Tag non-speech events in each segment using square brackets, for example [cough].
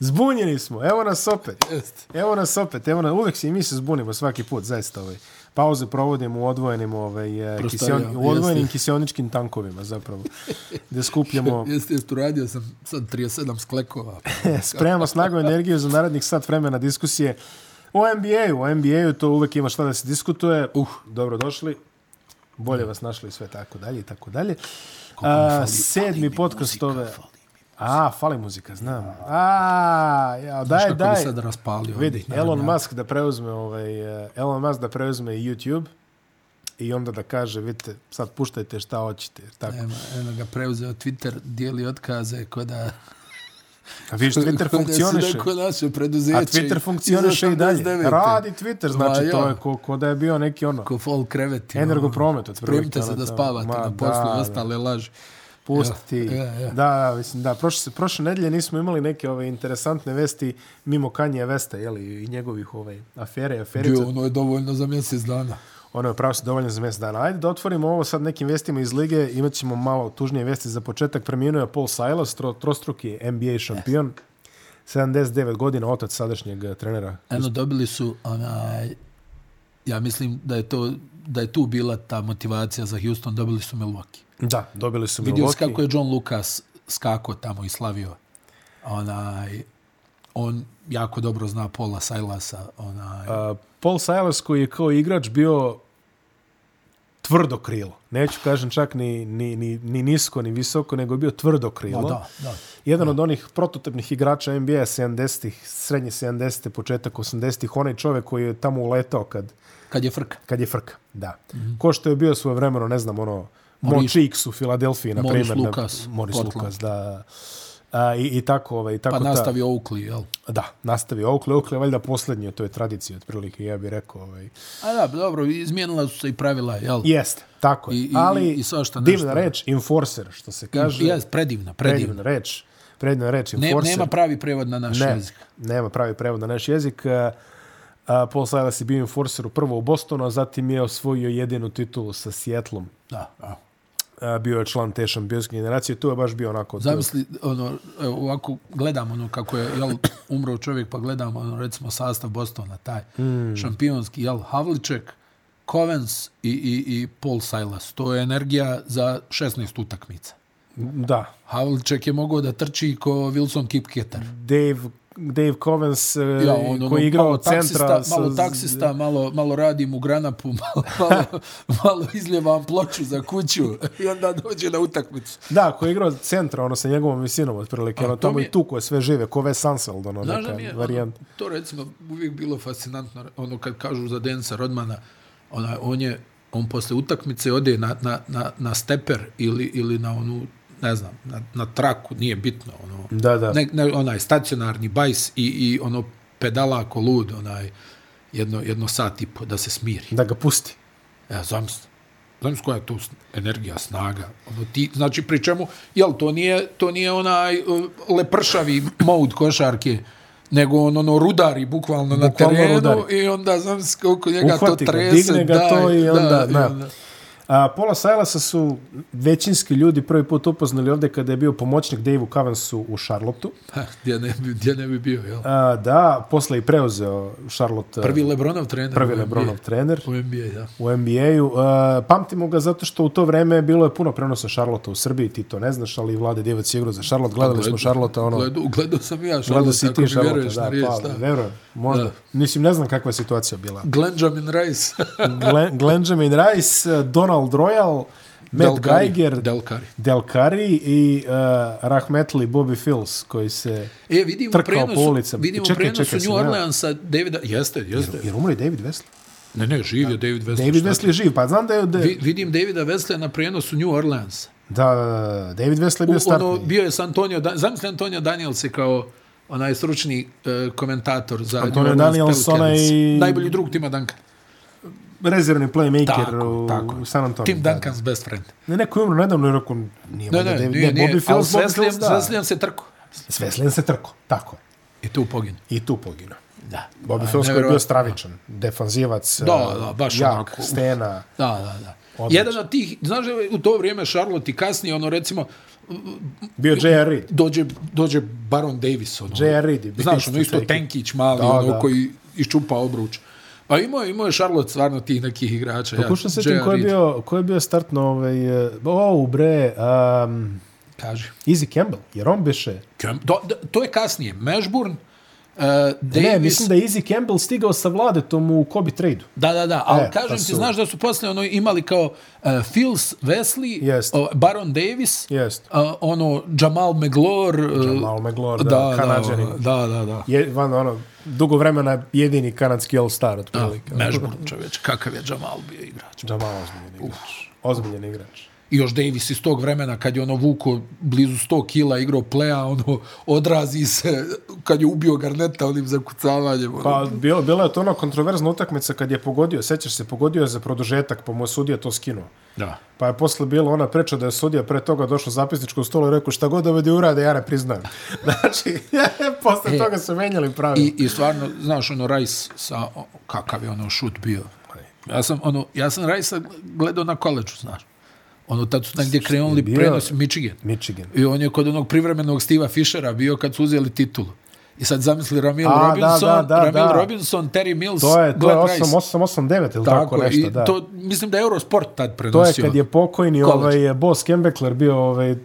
Zbunjeni smo, evo nas opet. Jeste. Evo nas opet, evo nas, uvek se i mi se zbunimo svaki put, zaista ovaj. Pauze provodimo u odvojenim, ovaj, eh, Prostorija, kision, u odvojenim jeste. kisioničkim tankovima zapravo. Gde [laughs] skupljamo, eh, Jeste, jeste, uradio sam sad 37 sklekova. spremamo snagu i energiju za narednih sat vremena diskusije o NBA-u. O NBA-u to uvek ima šta da se diskutuje. Uh, dobrodošli. Bolje vas našli i sve tako dalje i tako dalje. A, sedmi podcast ove... A, fali muzika, znam. A, ja, [laughs] daj, Znaš kako bi daj. sad raspalio. Vidi, Ne, Elon ne, Musk da preuzme ovaj, eh, Elon Musk da preuzme YouTube i onda da kaže, vidite, sad puštajte šta hoćete. jer Tako. Eno, eno ga preuzeo Twitter, dijeli otkaze ko da... A vidiš, [laughs] Twitter ko da se funkcioniše. neko naše preduzeće. A Twitter funkcioniše i dalje. 89. Radi Twitter, znači Ma, to ja. je ko, ko da je bio neki ono, Ko fol kreveti. energopromet. od prvih Primite se dana da tamo. spavate ono Ma, na poslu, da, da. ostale laži. Pusti. Ja, ja, ja. Da, da, mislim, da. Prošle, se- prošle nedelje nismo imali neke ove interesantne vesti mimo Kanje Vesta, jeli, i njegovih ove afere, aferica. Bio, ono je dovoljno za mjesec dana. Ono je pravo se dovoljno za mjesec dana. Ajde da otvorimo ovo sad nekim vestima iz lige. Imat ćemo malo tužnije vesti za početak. Preminuo je Paul Silas, tro, trostruki NBA šampion. 79 godina, otac sadašnjeg eh, trenera. Eno, dobili su, onaj, ja mislim da je to da je tu bila ta motivacija za Houston, dobili su Milwaukee. Da, dobili su Vidio si Milwaukee. kako je John Lucas skako tamo i slavio. Onaj, on jako dobro zna Paula Silasa. Onaj, Uh, Paul Silas koji je kao igrač bio tvrdo krilo. Neću kažem čak ni, ni, ni, ni nisko, ni visoko, nego je bio tvrdo krilo. Ma da, da. Jedan od onih prototipnih igrača NBA 70-ih, srednje 70-te, početak 80-ih, onaj čovek koji je tamo uletao kad, kad je frka. pa kad je frka. Da. Mm Mhm. -hmm. Ko što je bio svoje vremeno, ne znam, ono, Maurice- Močix u Filadelfiji, na Maurice primjer. Lucas, Da, Moris Portland. Lukas, da. A, i, I tako, ovaj, tako Pa ta- nastavio Oakley, jel? Da, nastavi Oakley. Oakley je valjda posljednji u toj tradiciji, otprilike, ja bih rekao. Ovaj. A da, dobro, izmijenila su se i pravila, jel? Jest, tako je. I- i- Ali, i svašta nešto. divna reč, enforcer, što se kaže. Jes, predivna, predivna. predivna reč. Predivna reč, Ne, enforcer. nema pravi prevod na naš ne, jezik. Nema pravi prevod na naš jezik. Uh, Paul Silas je bio enforcer prvo u Bostonu, a zatim je osvojio jedinu titulu sa Sjetlom. Da, da. Bio je član te šampionske generacije. Tu je baš bio onako... tu je- Zamisli, ono, evo, ovako gledam ono kako je, jel, [clears throat] umro čovjek, pa gledam, ono, recimo, sastav Bostona, taj Hmm. mm. šampionski, jel, Havliček, Kovens i, i, i Paul Silas. To je energija za 16 utakmica. Da. Havliček je mogao da trči ko Wilson Kipketer. Dave, Dave Covens, eh, Ja, on, ono, koji je igrao malo centra... taksista, malo sa- taksista, malo, malo radim u granapu, [laughs] malo, malo, malo izljevam ploču za kuću [laughs] i onda dođe na utakmicu. Da, koji je igrao centra, ono sa njegovom visinom, otprilike, ono to tamo mi i je- tu koje sve žive, ko Wes Anseld, ono, Znaš da neka mi je, varijanta. Ono, to recimo uvijek bilo fascinantno, ono kad kažu za Densa Rodmana, ona, on je, on posle utakmice ode na, na, na, na steper ili, ili na onu, ne znam, na, na traku, nije bitno, ono, Da, da. ne, ne, onaj stacionarni bajs i, i ono pedala ako lud, onaj, jedno, jedno sat i po, da se smiri. Da ga pusti. Ja, E, zamisli. Zamisli koja je tu s- energija, snaga. Ono, ti, znači, pri čemu, jel, to nije, to nije onaj uh, lepršavi mod košarke, nego on ono rudari bukvalno, na Bukvalno terenu rudari. i onda znam se koliko njega Uhvati ga, to trese. digne ga da, to i onda, da, da. I onda. A, Paula Silasa su većinski ljudi prvi put upoznali ovdje kada je bio pomoćnik Dave-u Cavensu u Charlotteu. Ha, pa, gdje, ne bi, gdje ne bi bio, jel? A, da, posle i preuzeo Charlotte, Prvi Lebronov trener. prvi u NBA. Lebronov trener U NBA, da. u NBA-u. E, pamtimo ga zato što u to vreme bilo je puno prenosa Charlotte u Srbiji, ti to ne znaš, ali Vlade Divac je igrao za Charlotte, gledali smo Charlotte, ono, Gledao, gledao sam i ja Charlotte, gledao si i ako ti mi Charlotte, vjeruješ da, na riječ, pa, da. verujem, možda. Da. Mislim, ne znam kakva je situacija bila. Glenjamin Rice. Glen, Glenjamin Rice, Donald Royal, Matt [laughs] Del Curry, Geiger, Del Curry. Del Curry i uh, Rahmetli Bobby Fills koji se... E, vidimo Trkao prenos, po ulicama. Vidimo Čekaj, čekaj, prenos čekaj, u New sam ja- Orleansa Davida... Jeste, jeste. Jer umri David Wesley? Ne, ne, živ je David Wesley. David šta Wesley je živ, pa znam da je... Da, ti? Vi, vidim Davida Wesley na prenosu New Orleansa. da, da, da, David Wesley je bio startni. Ono, bio je s Antonio... Da, zamisli Antonio Daniels je kao onaj stručni e, komentator za Antonio New Orleans Daniels, Pelicans. onaj- Najbolji drug Tima Duncan. Rezervni playmaker Tako, u, tako. u San Antonio. Tim Duncan's best friend. Ne, neko je umro nedavno i rekao, nije Ne, valjda ne, David, nije, nije. Bobby Ali Fills, s Bobby Fills, Wesleyan, s da. Wesleyan se trko. S Wesleyan se trko, tako je. I tu poginu. I tu poginuo. Da. Bobby A, Filsko je bio nevjerovatno. stravičan. Defanzivac, Da, da, baš jak, onako. stena. Da, da, da. Jedan od tih, znaš, u to vrijeme Charlotte i kasnije, ono, recimo, Bio J.R. Reed. dođe, dođe Baron Davis, ono. J.R. Reed je bio Znaš, isto ono isto taj- Tenkić mali, Da, da, ono, da. da. koji iščupa obruč. Pa imao, je- imao je Charlotte stvarno tih nekih igrača. Ja, Pokušam se sjetim J.R. Pa ko je Reed, bio, ko je bio startno ovaj... eh, O, bre, um, Kaži. Easy Campbell, jer on biše... Kem, do, do, to je kasnije. Mashburn, uh, Davis... Ne, mislim da je Easy Campbell stigao sa vladetom u Kobe trade-u. Da, da, da, ali E, e, kažem pa pa ti, su- znaš da su posle ono imali kao uh, Phils Wesley, Jest. o, Baron Davis, Jest. uh, ono Jamal McGlure, uh, Jamal McGlure, da, Kanadjanin. Da, da, da. Je, van, ono, dugo vremena jedini kanadski all-star, da. otprilike. Mashburn čoveč, kakav je Jamal bio igrač. Jamal ozbiljen igrač. Ozbiljen igrač. I još Davis iz tog vremena kad je ono vuko blizu 100 kila igrao playa, ono odrazi se kad je ubio Garneta onim zakucavanjem. Ono. Pa, bilo, bila je to ona kontroverzna utakmica kad je pogodio, sećaš se, pogodio je za produžetak, pa mu je sudija to skinuo. da. Pa je posle bila ona preča da je sudija pre toga došao zapisničko u stolu i rekao šta god ovdje urade, ja ne priznajem. [laughs] Znači, posle toga su menjali pravila. E, I, I stvarno, znaš, ono, Rice sa, o, kakav je ono šut bio. Ja sam, ono, ja sam Rice gledao na koleđu, znaš. Ono, tad su negdje krenuli bio- prenos Michigan. Michigan. I on je kod onog privremenog Steve'a Fishera bio kad su uzeli titulu. I sad zamisli Ramil A, da, Robinson, da, da, Ramil da. Robinson, Terry Mills, To je, to je Glenn 8889 ili tako, je, nešto, i da. To, mislim da je Eurosport tad To je prenosio. kad je pokojni College. ovaj, Boss Kembeckler bio ovaj,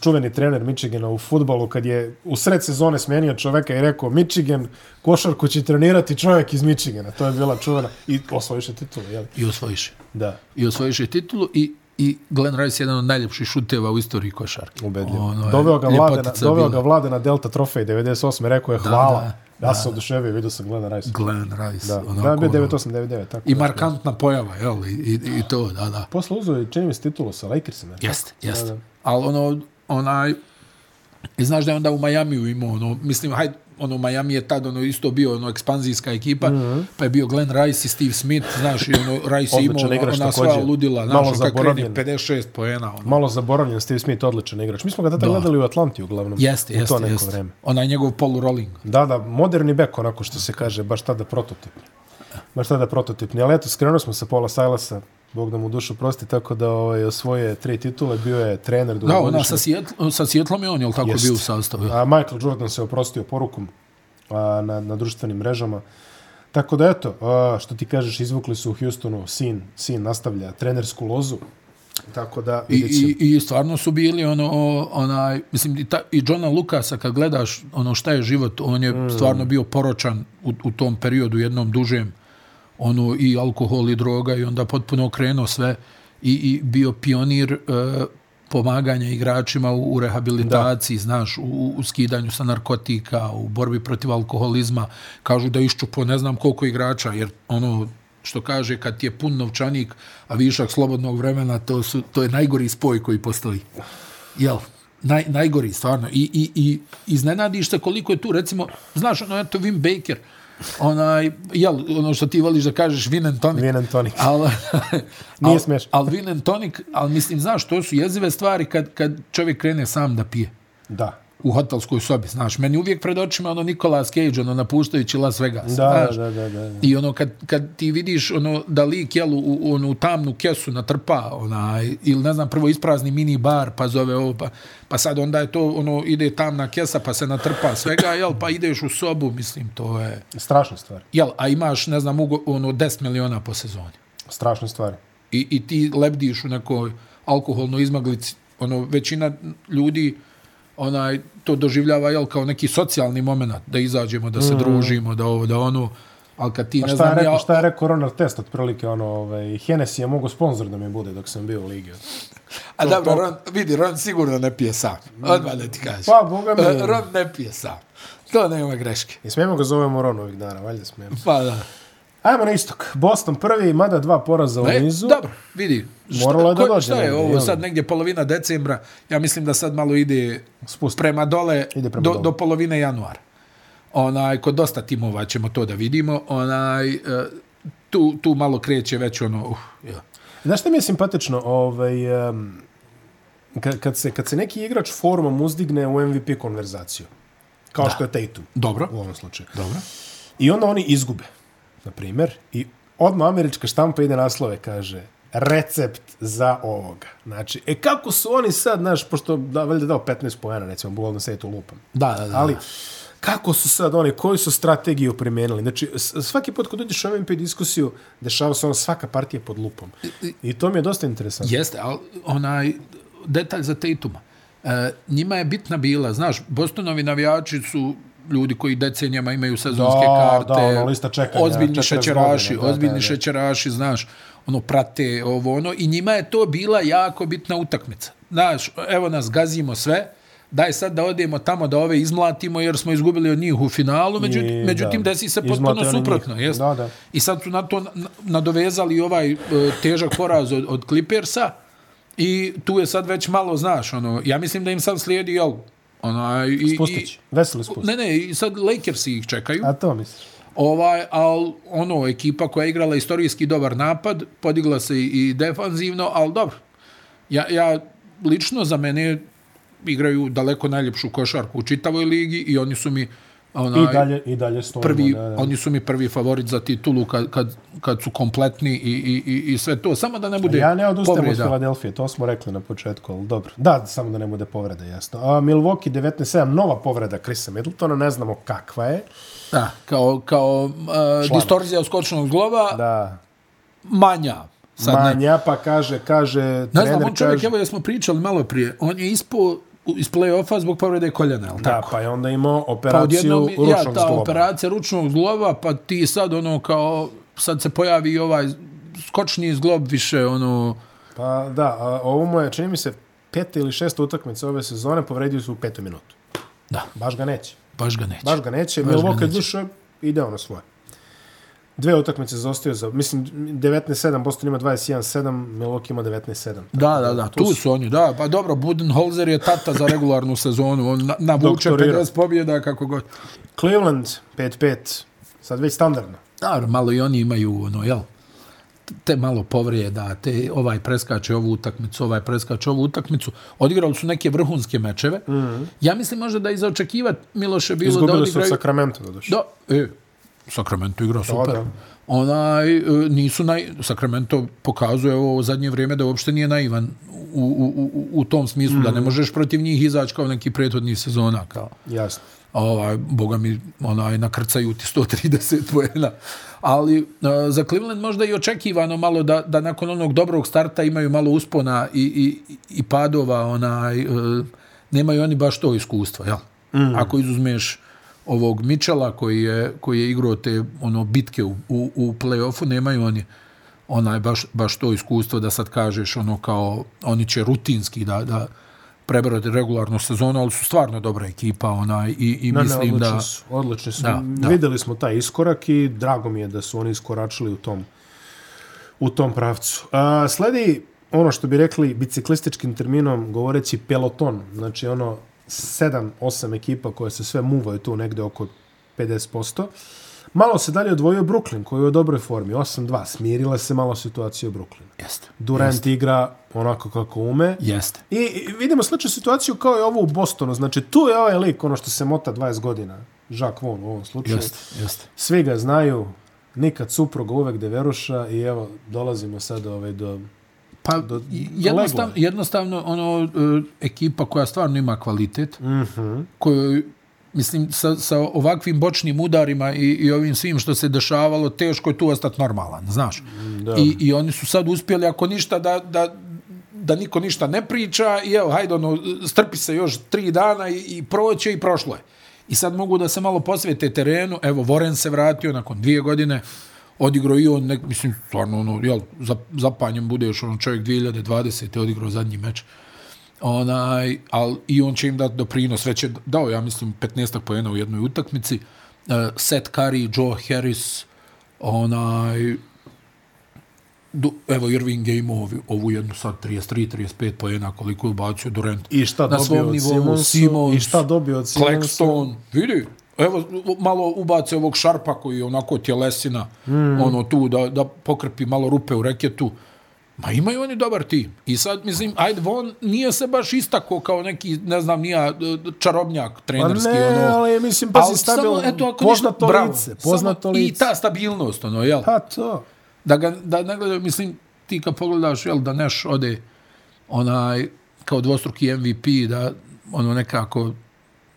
čuveni trener Michigana u futbalu, kad je u sred sezone smenio čoveka i rekao Michigan, košarku će trenirati čovjek iz Michigana. To je bila čuvena i osvojiše titulu, jel? I osvojiše. Da. I osvojiše titulu i i Glenn Rice je jedan od najljepših šuteva u istoriji košarke. Ubedljivo. Ono je doveo ga vlade na, ljepotica doveo bila. ga vlade na Delta trofej 98. Rekao je hvala. Da, da, da, se oduševio, vidio sam Glenn Rice. Glenn Rice. Da, onako, da je bio ono, 9899, tako. I da. markantna pojava, jel? I, i, i to, da, da. Posle uzeo i čini mi se titulu sa Lakersima. Jeste, jeste. Da, Da, da. da. Ali ono, onaj, i znaš da je onda u Majamiju imao, ono, mislim, hajde, ono, Miami je tad ono isto bio ono ekspanzijska ekipa, mm Mhm. -hmm. pa je bio Glenn Rice i Steve Smith, znaš, i ono, Rice je imao Odličan ona, igrač ona sva također. ludila, Malo znaš, on kad kreni zaboravljen. 56 poena, ono. Malo zaboravljen Steve Smith, odličan igrač. Mi smo ga tada gledali u Atlanti uglavnom. Jeste, u to jeste, neko jeste. vreme. Onaj njegov polu rolling. Da, da, moderni bek, onako što se kaže, baš tada prototipni. Baš tada prototipni. Ali eto, skrenuo smo sa Paula Sajlasa, Bog da mu dušu prosti, tako da ovaj, osvoje tri titule, bio je trener Da, dugogodišnji. ona sa, Sijetl, sa Sjetlom je on, jel tako, Jeste. bio u sastavu? jel? A Michael Jordan se oprostio porukom a, na, na društvenim mrežama. Tako da eto, a, što ti kažeš, izvukli su u Houstonu, sin, sin nastavlja trenersku lozu. Tako da I, vidjet ćemo. i, I stvarno su bili ono, o, onaj, mislim, i, ta, i Johna Lukasa kad gledaš ono šta je život, on je mm. stvarno bio poročan u, u tom periodu, jednom dužem, ono i alkohol i droga i onda potpuno okrenuo sve i, i bio pionir e, pomaganja igračima u, u rehabilitaciji, da. znaš, u, u skidanju sa narkotika, u borbi protiv alkoholizma. Kažu da je iščupo ne znam koliko igrača, jer ono što kaže kad ti je pun novčanik, a višak slobodnog vremena, to, su, to je najgori spoj koji postoji. Jel? Naj, najgori, stvarno. I, i, i iznenadiš se koliko je tu, recimo, znaš, ono, eto, Wim Baker, onaj, jel, ono što ti voliš da kažeš, Vin and Tonic. Vinan Tonik. Al, [laughs] Nije al- smiješno. Al Vin and Tonic, al mislim, znaš, to su jezive stvari kad, kad čovjek krene sam da pije Da. u hotelskoj sobi, znaš. Meni uvijek pred očima ono Nicolas Cage, ono napuštajući Las Vegas, Da, znaš. da, da, da, da. I ono kad, kad ti vidiš ono da lik jel u, u onu tamnu kesu natrpa onaj ili ne znam prvo isprazni mini bar pa zove ovo pa, pa sad onda je to ono ide tamna kesa pa se natrpa svega jel pa ideš u sobu mislim to je Strašna stvar. jel a imaš ne znam ugo, ono 10 miliona po sezoni Strašna stvar. i, i ti lebdiš u nekoj alkoholnoj izmaglici. Ono, većina ljudi onaj, to doživljava jel, kao neki socijalni moment, da izađemo, da se mm. družimo, da ovo, da ono, ali kad ti Mm-hmm. A šta ne je znam rekao, ja... šta je rekao Ronald Test, otprilike ono, ovaj, Hennessy je mogo sponsor da mi bude dok sam bio u ligi. A dobro, Ron, vidi, Ron sigurno ne pije sam. Odmah da ti kažem. Pa, boga mi. E, Ron ne pije sam. To nema greške. I smijemo ga zovemo Ron ovih dana, valjda smijemo. Pa da. Ajmo na istok. Boston prvi, mada dva poraza u E, nizu. dobro, vidi. Pa Moralo je da ko- dođe Šta je negdje, ovo jel? sad negdje polovina decembra? Ja mislim da sad malo ide Spusti. prema dole Ide prema do, dole. do polovine januara. Onaj, kod dosta timova ćemo to da vidimo. Onaj, e, tu, tu malo kreće već ono... Uh, ja. Znaš šta mi je simpatično? Ovaj, um, kad, kad, se, kad se neki igrač formom uzdigne u MVP konverzaciju, kao da. što je Tatum Dobro. u ovom slučaju. Dobro. I onda oni izgube, na primjer, i odmah američka štampa ide naslove, kaže, recept za ovoga. Znači, e kako su oni sad, znaš, pošto da, valjda dao 15 pojena, recimo, bukvalno sad je to lupam. Da, da, da. Ali, kako su sad oni, koju su strategiju primenili? Znači, s- svaki put kad uđeš u MMP diskusiju, dešava se ono svaka partija pod lupom. I to mi je dosta interesantno. Jeste, ali onaj detalj za Tatuma. E, njima je bitna bila, znaš, Bostonovi navijači su ljudi koji decenijama imaju sezonske Da, karte, da, ono, lista čekanja, ozbiljni 40 šećeraši, godina, da, ozbiljni da, da. šećeraši, znaš, ono, prate ovo, ono, i njima je to bila jako bitna utakmica. Znaš, evo nas, gazimo sve, daj sad da odemo tamo da ove izmlatimo jer smo izgubili od njih u finalu, međutim, I, da. međutim desi se Izmlate potpuno oni njih. suprotno. Jest? Da, da. I sad su na to na- nadovezali ovaj e, težak poraz od, od Clippersa i tu je sad već malo, znaš, ono, ja mislim da im sad slijedi, jel, onaj... I, Spustić, I, veseli spustić. ne, ne, i sad Lakersi ih čekaju. A to misliš? Ovaj, al ono, ekipa koja je igrala istorijski dobar napad, podigla se i defanzivno, ali dobro. Ja, ja lično za mene igraju daleko najljepšu košarku u čitavoj ligi i oni su mi ono, onaj, I dalje, i dalje stojimo. prvi, da, da. oni su mi prvi favorit za titulu kad, kad, kad su kompletni i, i, i, i sve to. Samo da ne bude Ja ne odustajem od povreda. Filadelfije, to smo rekli na početku, ali dobro. Da, samo da ne bude povreda, jasno. A Milwaukee 19-7, nova povreda Chrisa Middletona, ne znamo kakva je. Da, kao, kao uh, distorzija skočnog zglova, da. Da, manja. Sad ne- manja pa kaže, kaže, Ne trener znam, on čovjek, kaže... evo jer smo pričali malo prije, on je ispao u- iz play-offa zbog povrede koljena, jel Da, tako? pa je onda imao Pa operaciju odjednom, pa ja, ručnog ta zgloba. operacija ručnog zgloba, pa ti sad ono kao, sad se pojavi i ovaj skočni zglob više, ono, Pa da, a ovo mu je, čini mi se, peta ili šesta utakmica ove sezone, povredio se u petu minutu. Da. Baš ga neće. baš ga neće. Baš ga neće. ga Milwaukee je neće. duše ide ono svoje. Dve utakmice zaostaju za, mislim, 19-7, Boston ima 21-7, Milwaukee ima 19-7. Da, da, da, tu, su oni, da, pa dobro, Budenholzer je tata za regularnu sezonu, on na, navuče Doktorira. 50 pobjeda kako god. Cleveland 5-5, sad već standardno. Dar, malo i oni imaju, ono, jel, te malo povrijeda, te ovaj preskače ovu utakmicu, ovaj preskače ovu utakmicu. Odigrali su neke vrhunske mečeve. Mm -hmm. Ja mislim možda da i za očekivat Miloše bilo da Mhm. Izgubili su od odigraju... Sacramento, doduše. Da, e, Sacramento igra super. da. Onaj, e, nisu naj... Sacramento pokazuje ovo u zadnje vrijeme da uopšte nije naivan u, u, u, u tom smislu, mm. da ne možeš protiv njih izaći kao neki prethodnih sezona. Kao. Jasno. Ovaj, boga mi, onaj, nakrcaju ti 130 pojena. Ali e, za Cleveland možda i očekivano malo da, da nakon onog dobrog starta imaju malo uspona i, i, i padova, onaj, e, nemaju oni baš to iskustva, jel? Mm. Ako izuzmeš ovog Michela koji je, koji je igrao te ono bitke u, u, u play-offu, nemaju oni onaj baš, baš to iskustvo da sad kažeš ono kao oni će rutinski da, da prebrode regularnu sezonu, ali su stvarno dobra ekipa onaj i, i Ne, ne, mislim odlični da... su, odlični su. Da, da. Videli smo taj iskorak i drago mi je da su oni iskoračili u tom, u tom pravcu. A, sledi ono što bi rekli biciklističkim terminom govoreći peloton, znači ono 7-8 ekipa koje se sve muvaju tu negde oko 50%. Malo se dalje odvojio Brooklyn koji je u dobroj formi, 8-2, smirila se malo situacija u Brooklynu. Jeste. Durant igra onako kako ume. Jeste. I i vidimo sličnu situaciju kao i ovo u Bostonu. Znači, tu je ovaj lik, ono što se mota 20 godina, Jacques Vaughn u ovom slučaju. Jeste. Jeste. Svi ga znaju, nikad supruga uvek deveruša i evo, dolazimo sad ovaj do... Pa Do- jednostavno, leglo jednostavno ono, e, ekipa koja stvarno ima kvalitet, Mm -hmm. kojoj, mislim, sa, sa ovakvim bočnim udarima i, i ovim svim što se dešavalo, teško je tu ostati normalan, znaš. da. I, I oni su sad uspjeli, ako ništa, da, da, da niko ništa ne priča i evo, hajde, ono, strpi se još tri dana i, i proće i prošlo je. I sad mogu da se malo posvete terenu, evo, Voren se vratio nakon dvije godine, odigrao i on, nek, mislim, stvarno, ono, jel, za, zapanjem budeš, ono, čovjek 2020. odigrao zadnji meč onaj, al i on će im dati doprinos, već je dao, ja mislim, 15 pojena u jednoj utakmici, uh, Seth Curry, Joe Harris, onaj, du, evo Irving je imao ovu, ovu jednu sad 33-35 pojena koliko je ubacio Durant. I šta Na svom dobio od nivou, Simonsa? Simons, I šta dobio od Simonsa? Claxton, vidi, evo malo ubace ovog Hmm. Šarpa koji je onako tjelesina, mm. ono tu da, da pokrpi malo rupe u reketu. Ma imaju oni dobar tim. I sad, mislim, ajde, on nije se baš istako kao neki, ne znam, nija čarobnjak Pa trenerski. ne, ono. ali mislim, pa si Ali samo, stabilno, eto, ako poznato ništa, bravo. lice, Samo- poznato I lice. ta stabilnost, ono, jel? Pa to. da ga da ne gledaju, mislim, ti kad pogledaš, jel, da Neš ode onaj, kao dvostruki MVP, da ono nekako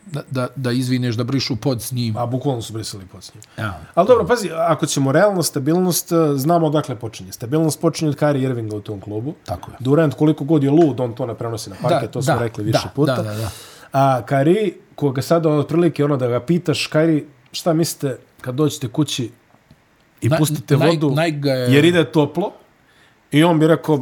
da, da, da izvineš, da brišu pod s njim. A Pa bukvalno su brisali pod s njim. Ja. Ali dobro, pazi, ako ćemo realno stabilnost, eh, znamo odakle počinje. Stabilnost počinje od Kari Irvinga u tom klubu. Tako je. Durant, koliko god je lud, on to ne prenosi na parke, Da, to smo da, rekli više da, puta. da, da, da. A Kari, koga sada otprilike ono da ga pitaš, Kari, šta mislite kad dođete kući i Na- pustite naj- vodu, naj ga je- jer ide toplo, i on bi rekao,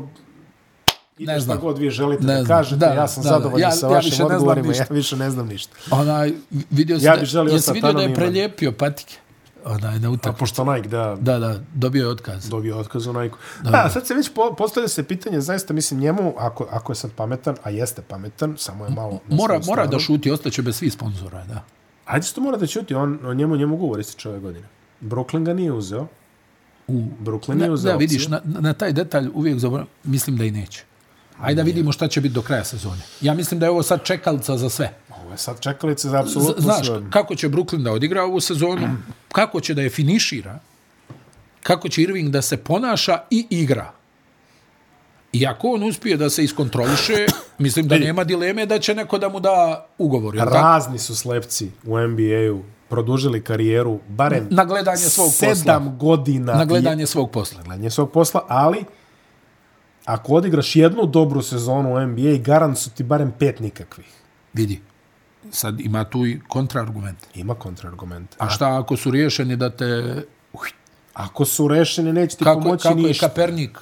ne Ne šta znam. god vi želite Ne da znam. kažete, Da, ja sam da, da. zadovoljan Ja- sa ja vašim više ne znam odgovorima, ja ništa. više ne znam ništa. Onaj, vidio sam Ja da, bih želio jesi ostati vidio da je anoniman. prelijepio patike onaj, na A utak. pošto Nike, da, Da, da, dobio je otkaz. dobio otkaz u Nike. Da, sad se već po, postavlja se pitanje, zaista, mislim, njemu, ako, ako je sad pametan, a jeste pametan, samo je malo... na Mora, svoju mora stranu. da šuti, ostaće bez svih sponzora, da. Ajde što mora da ćuti, on, on njemu njemu govori se ove godine. Brooklyn ga nije uzeo. U, Brooklyn Na, nije uzeo. da, vidiš, opciju. na, na taj detalj uvijek zaboravim, mislim da i neće. Ajde da vidimo šta će biti do kraja sezone. Ja mislim da je ovo sad čekalica za sve. Ovo je sad čekalice za Z- apsolutno Znaš, sve. kako će Brooklyn da odigra ovu sezonu, kako će da je finišira, kako će Irving da se ponaša i igra. I ako on uspije da se iskontroliše, [coughs] mislim da Vidi. nema dileme da će neko da mu da ugovor. jel tako? Razni su slepci u NBA-u produžili karijeru barem Na gledanje svog posla. sedam godina Na i- gledanje svog posla. na gledanje svog posla, ali ako odigraš jednu dobru sezonu u NBA, garant su ti barem pet nikakvih. Vidi, sad ima tu i kontraargument. Ima kontrargument. A šta ako su riješeni da te Ako su rešeni, neće ti kako, pomoći kako je ništa. Kapernik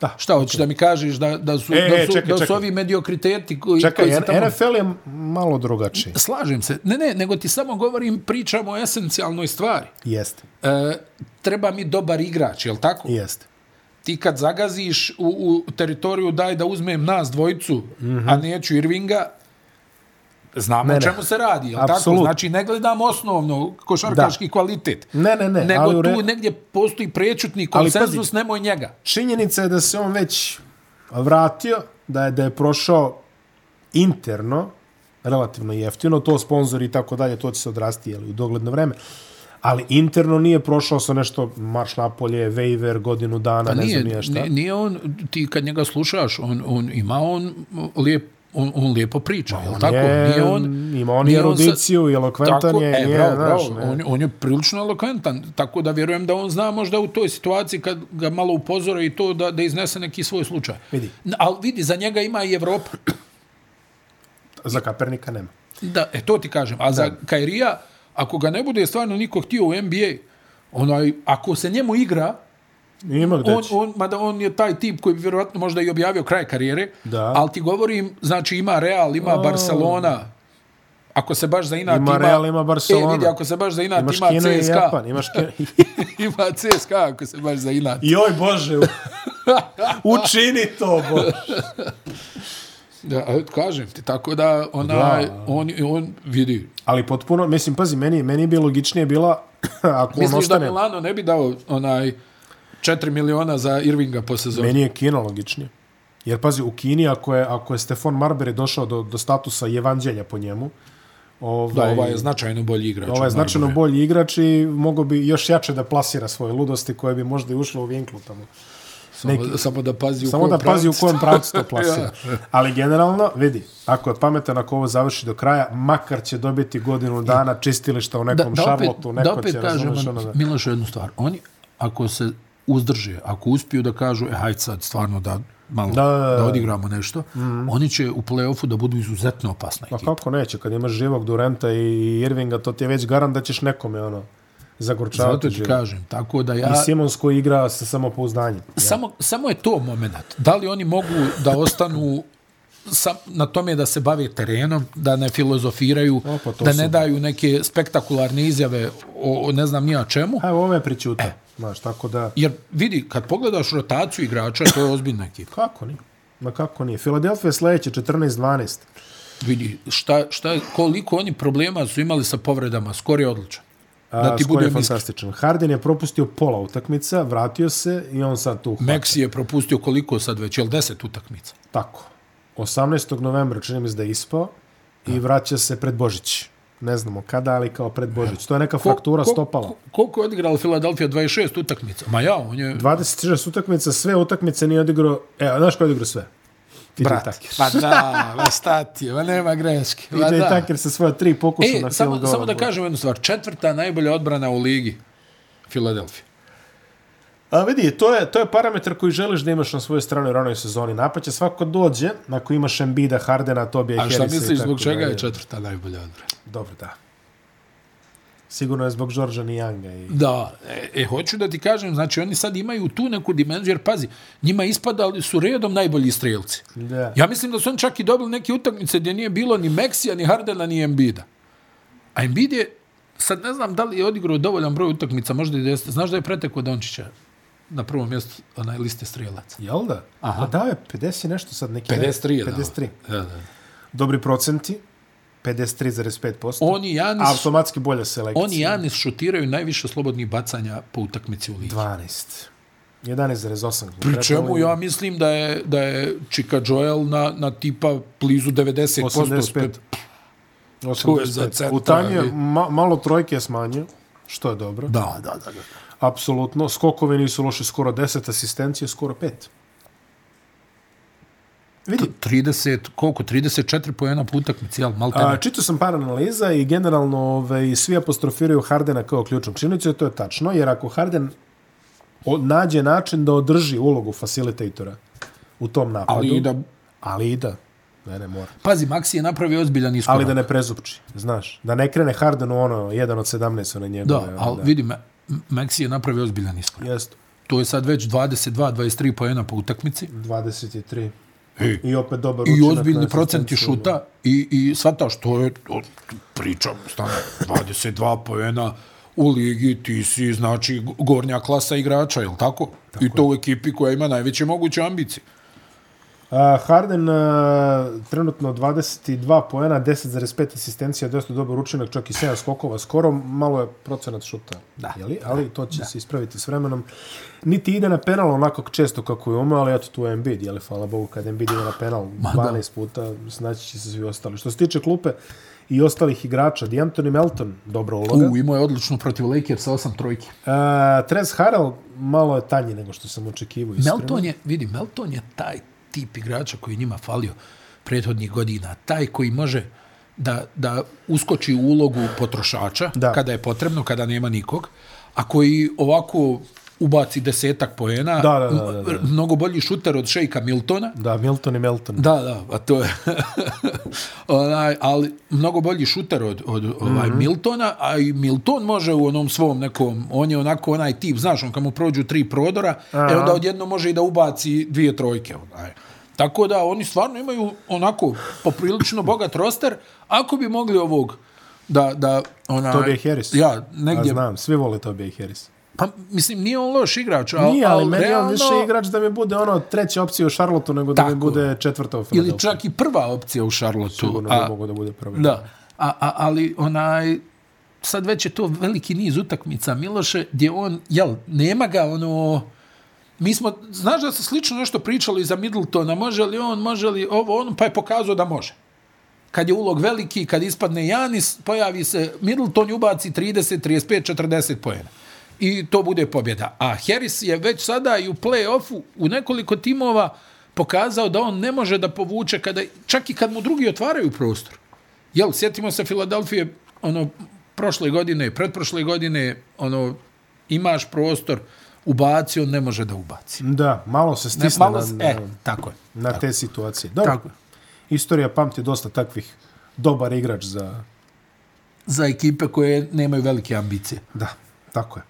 Da. Šta hoćeš da mi kažeš da, da su, E, e, da e, čekaj, su, čekaj, da su čekaj. ovi mediokriteti koji, Čekaj, koji se tamo... NFL je malo drugačiji. Slažem se. Ne, ne, nego ti samo govorim, pričamo o esencijalnoj stvari. Jeste, E, treba mi dobar igrač, jel tako? jeste. Ti kad zagaziš u, u teritoriju daj da uzmem nas dvojicu, mm -hmm. a neću Irvinga, znamo Mhm. Ne, ne, ne. o čemu se radi, jel tako? Apsolutno. Znači, ne gledam osnovno košarkaški da. kvalitet. Ne, ne, ne, Nego ali tu u re- negdje postoji prečutni Ali pazi- konsenzus, nemoj njega. Činjenica je da se on već vratio, da je, da je prošao interno, relativno jeftino, to sponzori i tako dalje, to će se odrasti jeli, u dogledno vreme. Ali interno nije prošao sa nešto marš napolje, waiver, godinu dana, Pa ne nije, znam nije šta. nije, nije on, ti kad njega slušaš, on, on ima on lijep, on, on lijepo priča, jel tako? Je, Nije on, ima on i nije on sa- erudiciju, i elokventan tako, je, e, nije, bravo, znaš, bravo, ne. on, on je prilično elokventan, tako da vjerujem da on zna možda u toj situaciji kad ga malo upozore i to da, da iznese neki svoj slučaj. Vidi. N- Ali vidi, za njega ima i Evropa. Za Kapernika nema. Da, e, to ti kažem. A za Kairija, ako ga ne bude stvarno niko htio u NBA, onaj, ako se njemu igra, Ima gde on, će. on, mada on je taj tip koji bi vjerovatno možda i objavio kraj karijere, Da. Oh. ali ti govorim, znači ima Real, ima Barcelona, ako se baš za inat Ima ima... Real, ima Barcelona. E, vidi, ako se baš za inat Imaš ima Kinu i CSKA. Japan, imaš Kinu i [laughs] ima CSKA ako se baš za inat. Joj Bože, [laughs] učini to, Bože. Da, a, kažem ti, tako da onaj, Da. on, on vidi. Ali potpuno, mislim, pazi, meni, meni bi logičnije bila [clears throat] ako on Misliš da ostane. Milano ne bi dao onaj 4 miliona za Irvinga po sezoni? Meni je Kina logičnije. Jer pazi, u Kini ako je, ako je Stefan Marbury došao do, do statusa evanđelja po njemu, Da, ovaj, ovaj je značajno bolji igrač. ovaj je od značajno Marbury. bolji igrač i mogao bi još jače da plasira svoje ludosti koje bi možda i ušlo u vinklu tamo. Samo, samo da pazi u Samo kojem da pazi u pravcu. kojem pravcu [laughs] to plasira. Ali generalno, vidi, ako je pametan, ako ovo završi do kraja, makar će dobiti godinu dana čistilišta u nekom Charlotteu, neko da opet će, kažem, razumeš, ono da... Miloš, jednu stvar. Oni, ako se uzdrže, ako uspiju da kažu, e, hajde sad stvarno da malo Da, da, da, da. Mhm. da odigramo nešto, mm. oni će u play-offu da budu izuzetno opasna Pa ekipa. kako neće, kad imaš živog Durenta i Irvinga, to ti je već garant da ćeš nekome ono, zagorčavati Zato ti život. kažem, tako da ja... I Simons koji igra sa samopouzdanjem. Samo, samo je to moment. Da li oni mogu da ostanu sa, na tome da se bave terenom, da ne filozofiraju, O, pa to da su- ne daju neke spektakularne izjave o, o ne znam nija čemu. A evo ove E. pričuta, znaš, tako da... Jer vidi, kad pogledaš rotaciju igrača, to je ozbiljna ekipa. Kako nije? Ma kako nije? Filadelfija je sledeće, 14-12. Vidi, šta, šta, koliko oni problema su imali sa povredama, skor je odličan. E, Da ti Skor bude je Mik. fantastičan. Harden je propustio pola utakmica, vratio se i on sad tu. Me... Meksi je propustio koliko sad već, jel 10 utakmica? Tako. 18. novembra čini mi se da je ispao i vraća se pred Božić. Ne znamo kada, ali kao pred Božić. To je neka fraktura stopala. Ko, koliko je odigrala Filadelfija? 26 utakmica. Ma ja, on je... 26 utakmica, sve utakmice nije odigrao... E, a znaš ko je odigrao sve? TJ Tucker. Pa da, ma stati, ma nema greške. Ma TJ Pa da. Tucker sa svoja tri pokuša na E, field samo, goal. samo da kažem jednu stvar. Četvrta najbolja odbrana u ligi. Filadelfija. A vidi, to je, to je parametar koji želiš da imaš na svojoj strani u ranoj sezoni. Napad će svako dođe, ako imaš Embida, Hardena, Tobija i A šta Harrisa. i misliš tako zbog čega je dalje. četvrta najbolja odbrana? Dobro, da. Sigurno je zbog Žorža Nijanga. I... Da, e, e, hoću da ti kažem, znači oni sad imaju tu neku dimenziju, jer pazi, njima ispadali su redom najbolji strelci. Da. Ja mislim da su oni čak i dobili neke utakmice gdje nije bilo ni Meksija, ni Hardena, ni Embida. A Embid je, sad ne znam da li je odigrao dovoljan broj utakmica, možda i da jeste. Znaš da je preteko Dončića na prvom mjestu onaj liste strelaca? Jel da? Aha. Aha. A dao je 50 i nešto sad neki... 53 je dao. 53. Da, da. Dobri procenti. 53,5%. On i Janis, Absolut. Automatski bolja selekcija. on i Janis šutiraju najviše slobodnih bacanja po utakmici u ligi. 12. 11,8. Pri čemu ja mislim da je, da je Čika Joel na, na tipa blizu 90%. 85. To je za centra, U Tanju je ali- ma, malo trojke je smanjio, što je dobro. Da, da, da. da. Apsolutno. Skokovi nisu loše, skoro 10 asistencije, skoro 5. Vidi, 30, koliko? 34 pojena po utakmici, jel? Maltene. A, čitao sam par analiza i generalno ovaj, svi apostrofiraju Hardena kao ključnog činicu, to je tačno, jer ako Harden o- nađe način da održi ulogu facilitatora u tom napadu, Ali i da... ali i da, ne, ne, mora. Pazi, Maxi je napravio ozbiljan iskorak. Ali da ne prezupči, znaš, da ne krene Harden u ono, jedan od 17 na njegove. Da, ono, ali vidi, Ma- M- Maxi je napravio ozbiljan iskorak. Jest, To je sad već 22-23 pojena po utakmici. 23. E. I opet dobar I učinak na ozbiljni asistenciju, procenti šuta i, i shvataš to je, o, pričam, stano, 22 pojena u ligi, ti si, znači, gornja klasa igrača, je li tako? tako I to u ekipi koja ima najveće moguće ambicije. A, Harden a, trenutno 22 poena, 10,5 asistencija, dosta dobar učinak, čak i 7 skokova skoro, malo je procenat šuta, Da. jeli? ali to će da. se ispraviti s vremenom. Niti ide na penal onako često kako je umeo, ali eto tu je Embiid, jeli, hvala Bogu, kad Embiid ide na penal 12 puta, snaći će se svi ostali. Što se tiče klupe i ostalih igrača, D'Antoni Melton, dobra uloga. U, imao je odlično protiv Lakersa 8 trojki. A, Trez Harrell, malo je tanji nego što sam očekivao, iskreno. Melton je, vidi, Melton je taj tip igrača koji njima falio prethodnih godina. Taj koji može da, da uskoči u ulogu potrošača Da. kada je potrebno, kada nema nikog, a koji ovako ubaci desetak poena, Da, da, da, da, da. m- mnogo bolji šuter od Šejka Miltona, Da, Milton i Melton. Da, da, pa to je. [laughs] onaj, ali mnogo bolji šuter od, od ovaj, mm Mhm. -hmm. Miltona, a i Milton može u onom svom nekom, on je onako onaj tip, znaš, on kad mu prođu tri prodora, Aha. e onda odjedno može i da ubaci dvije trojke. Onaj. Tako da oni stvarno imaju onako poprilično bogat roster, ako bi mogli ovog da, da onaj, Tobija Harris. Ja, A negdje, znam, svi vole Tobija i Harris. pa mislim, nije on loš igrač, ali, Nije, ali meni je on realno, više igrač da mi bude ono treća opcija u Charlotteu nego da mi Tako. bude četvrta u Philadelphia. ili čak i prva opcija u Charlotteu. Sigurno A, da mogu da bude prvi. Da, a, a, ali onaj, sad već je to veliki niz utakmica Miloše, gdje on, jel, nema ga ono, mi smo, znaš da se slično nešto pričali za Middletona, može li on, može li ovo, on, pa je pokazao da može. Kad je ulog veliki, kad ispadne Janis, pojavi se Middleton i ubaci 30, 35, 40 pojena. I to bude pobjeda. A Harris je već sada i u play-offu u nekoliko timova pokazao da on ne može da povuče kada, čak i kad mu drugi otvaraju prostor. Jel, sjetimo se Filadelfije, ono, prošle godine, pretprošle godine, ono, imaš prostor, ubaci, on ne može da ubaci. Da, malo se Ne, stisne malo, na, s- na, e, tako je. na te situacije. Dobro, Tako je. istorija pamti dosta takvih dobar igrač za... Za ekipe koje nemaju velike ambicije. Da, tako je.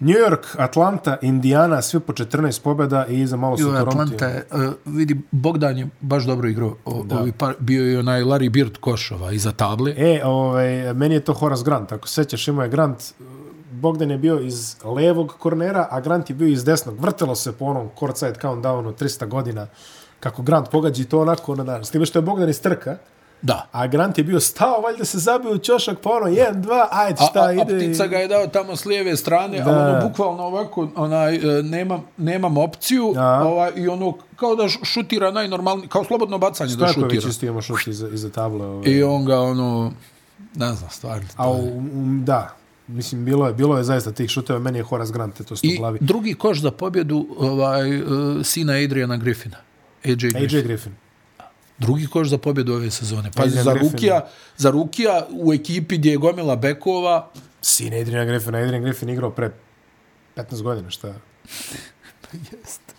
New York, Atlanta, Indiana, svi po 14 pobjeda i za malo su Bio je Toronto. Atlanta, je, uh, vidi, Bogdan je baš dobro igrao. O, ovi par, bio je onaj Larry Bird Košova iza table. E, ovaj, meni je to Horace Grant, ako se sećaš, imao je Grant, Bogdan je bio iz levog kornera, a Grant je bio iz desnog. Vrtelo se po onom ono, courtside countdownu 300 godina, kako Grant pogađi to onako, na, s time što je Bogdan iz trka, Da. A Grant je bio stao, valjda se zabio u ćošak, pa ono, 1, 2, ajde, šta a, a, ide. a ptica i- ga je dao tamo s lijeve strane, Da. ali ono bukvalno ovako, onaj, e, nemam, nemam opciju, Da. ovaj, i ono, kao da š- šutira najnormalni, kao slobodno bacanje da Stojković šutira. isto imao šut iza, iza table. Ovaj. I on ga, ono, ne znam, stvarno. A, u, um, da, mislim, bilo je, bilo je zaista tih šuteva, meni je Horace Grant, to sto u I glavi. drugi koš za pobjedu ovaj, e, sina Adriana Griffina. AJ Griffin. AJ Griffin. Drugi koš za pobjedu ove sezone. Pa Adrian za Griffin, Rukija, za Rukija u ekipi gdje je gomila bekova, Sin Adrian Griffin, Adrian Griffin igrao pre 15 godina, šta? Jeste.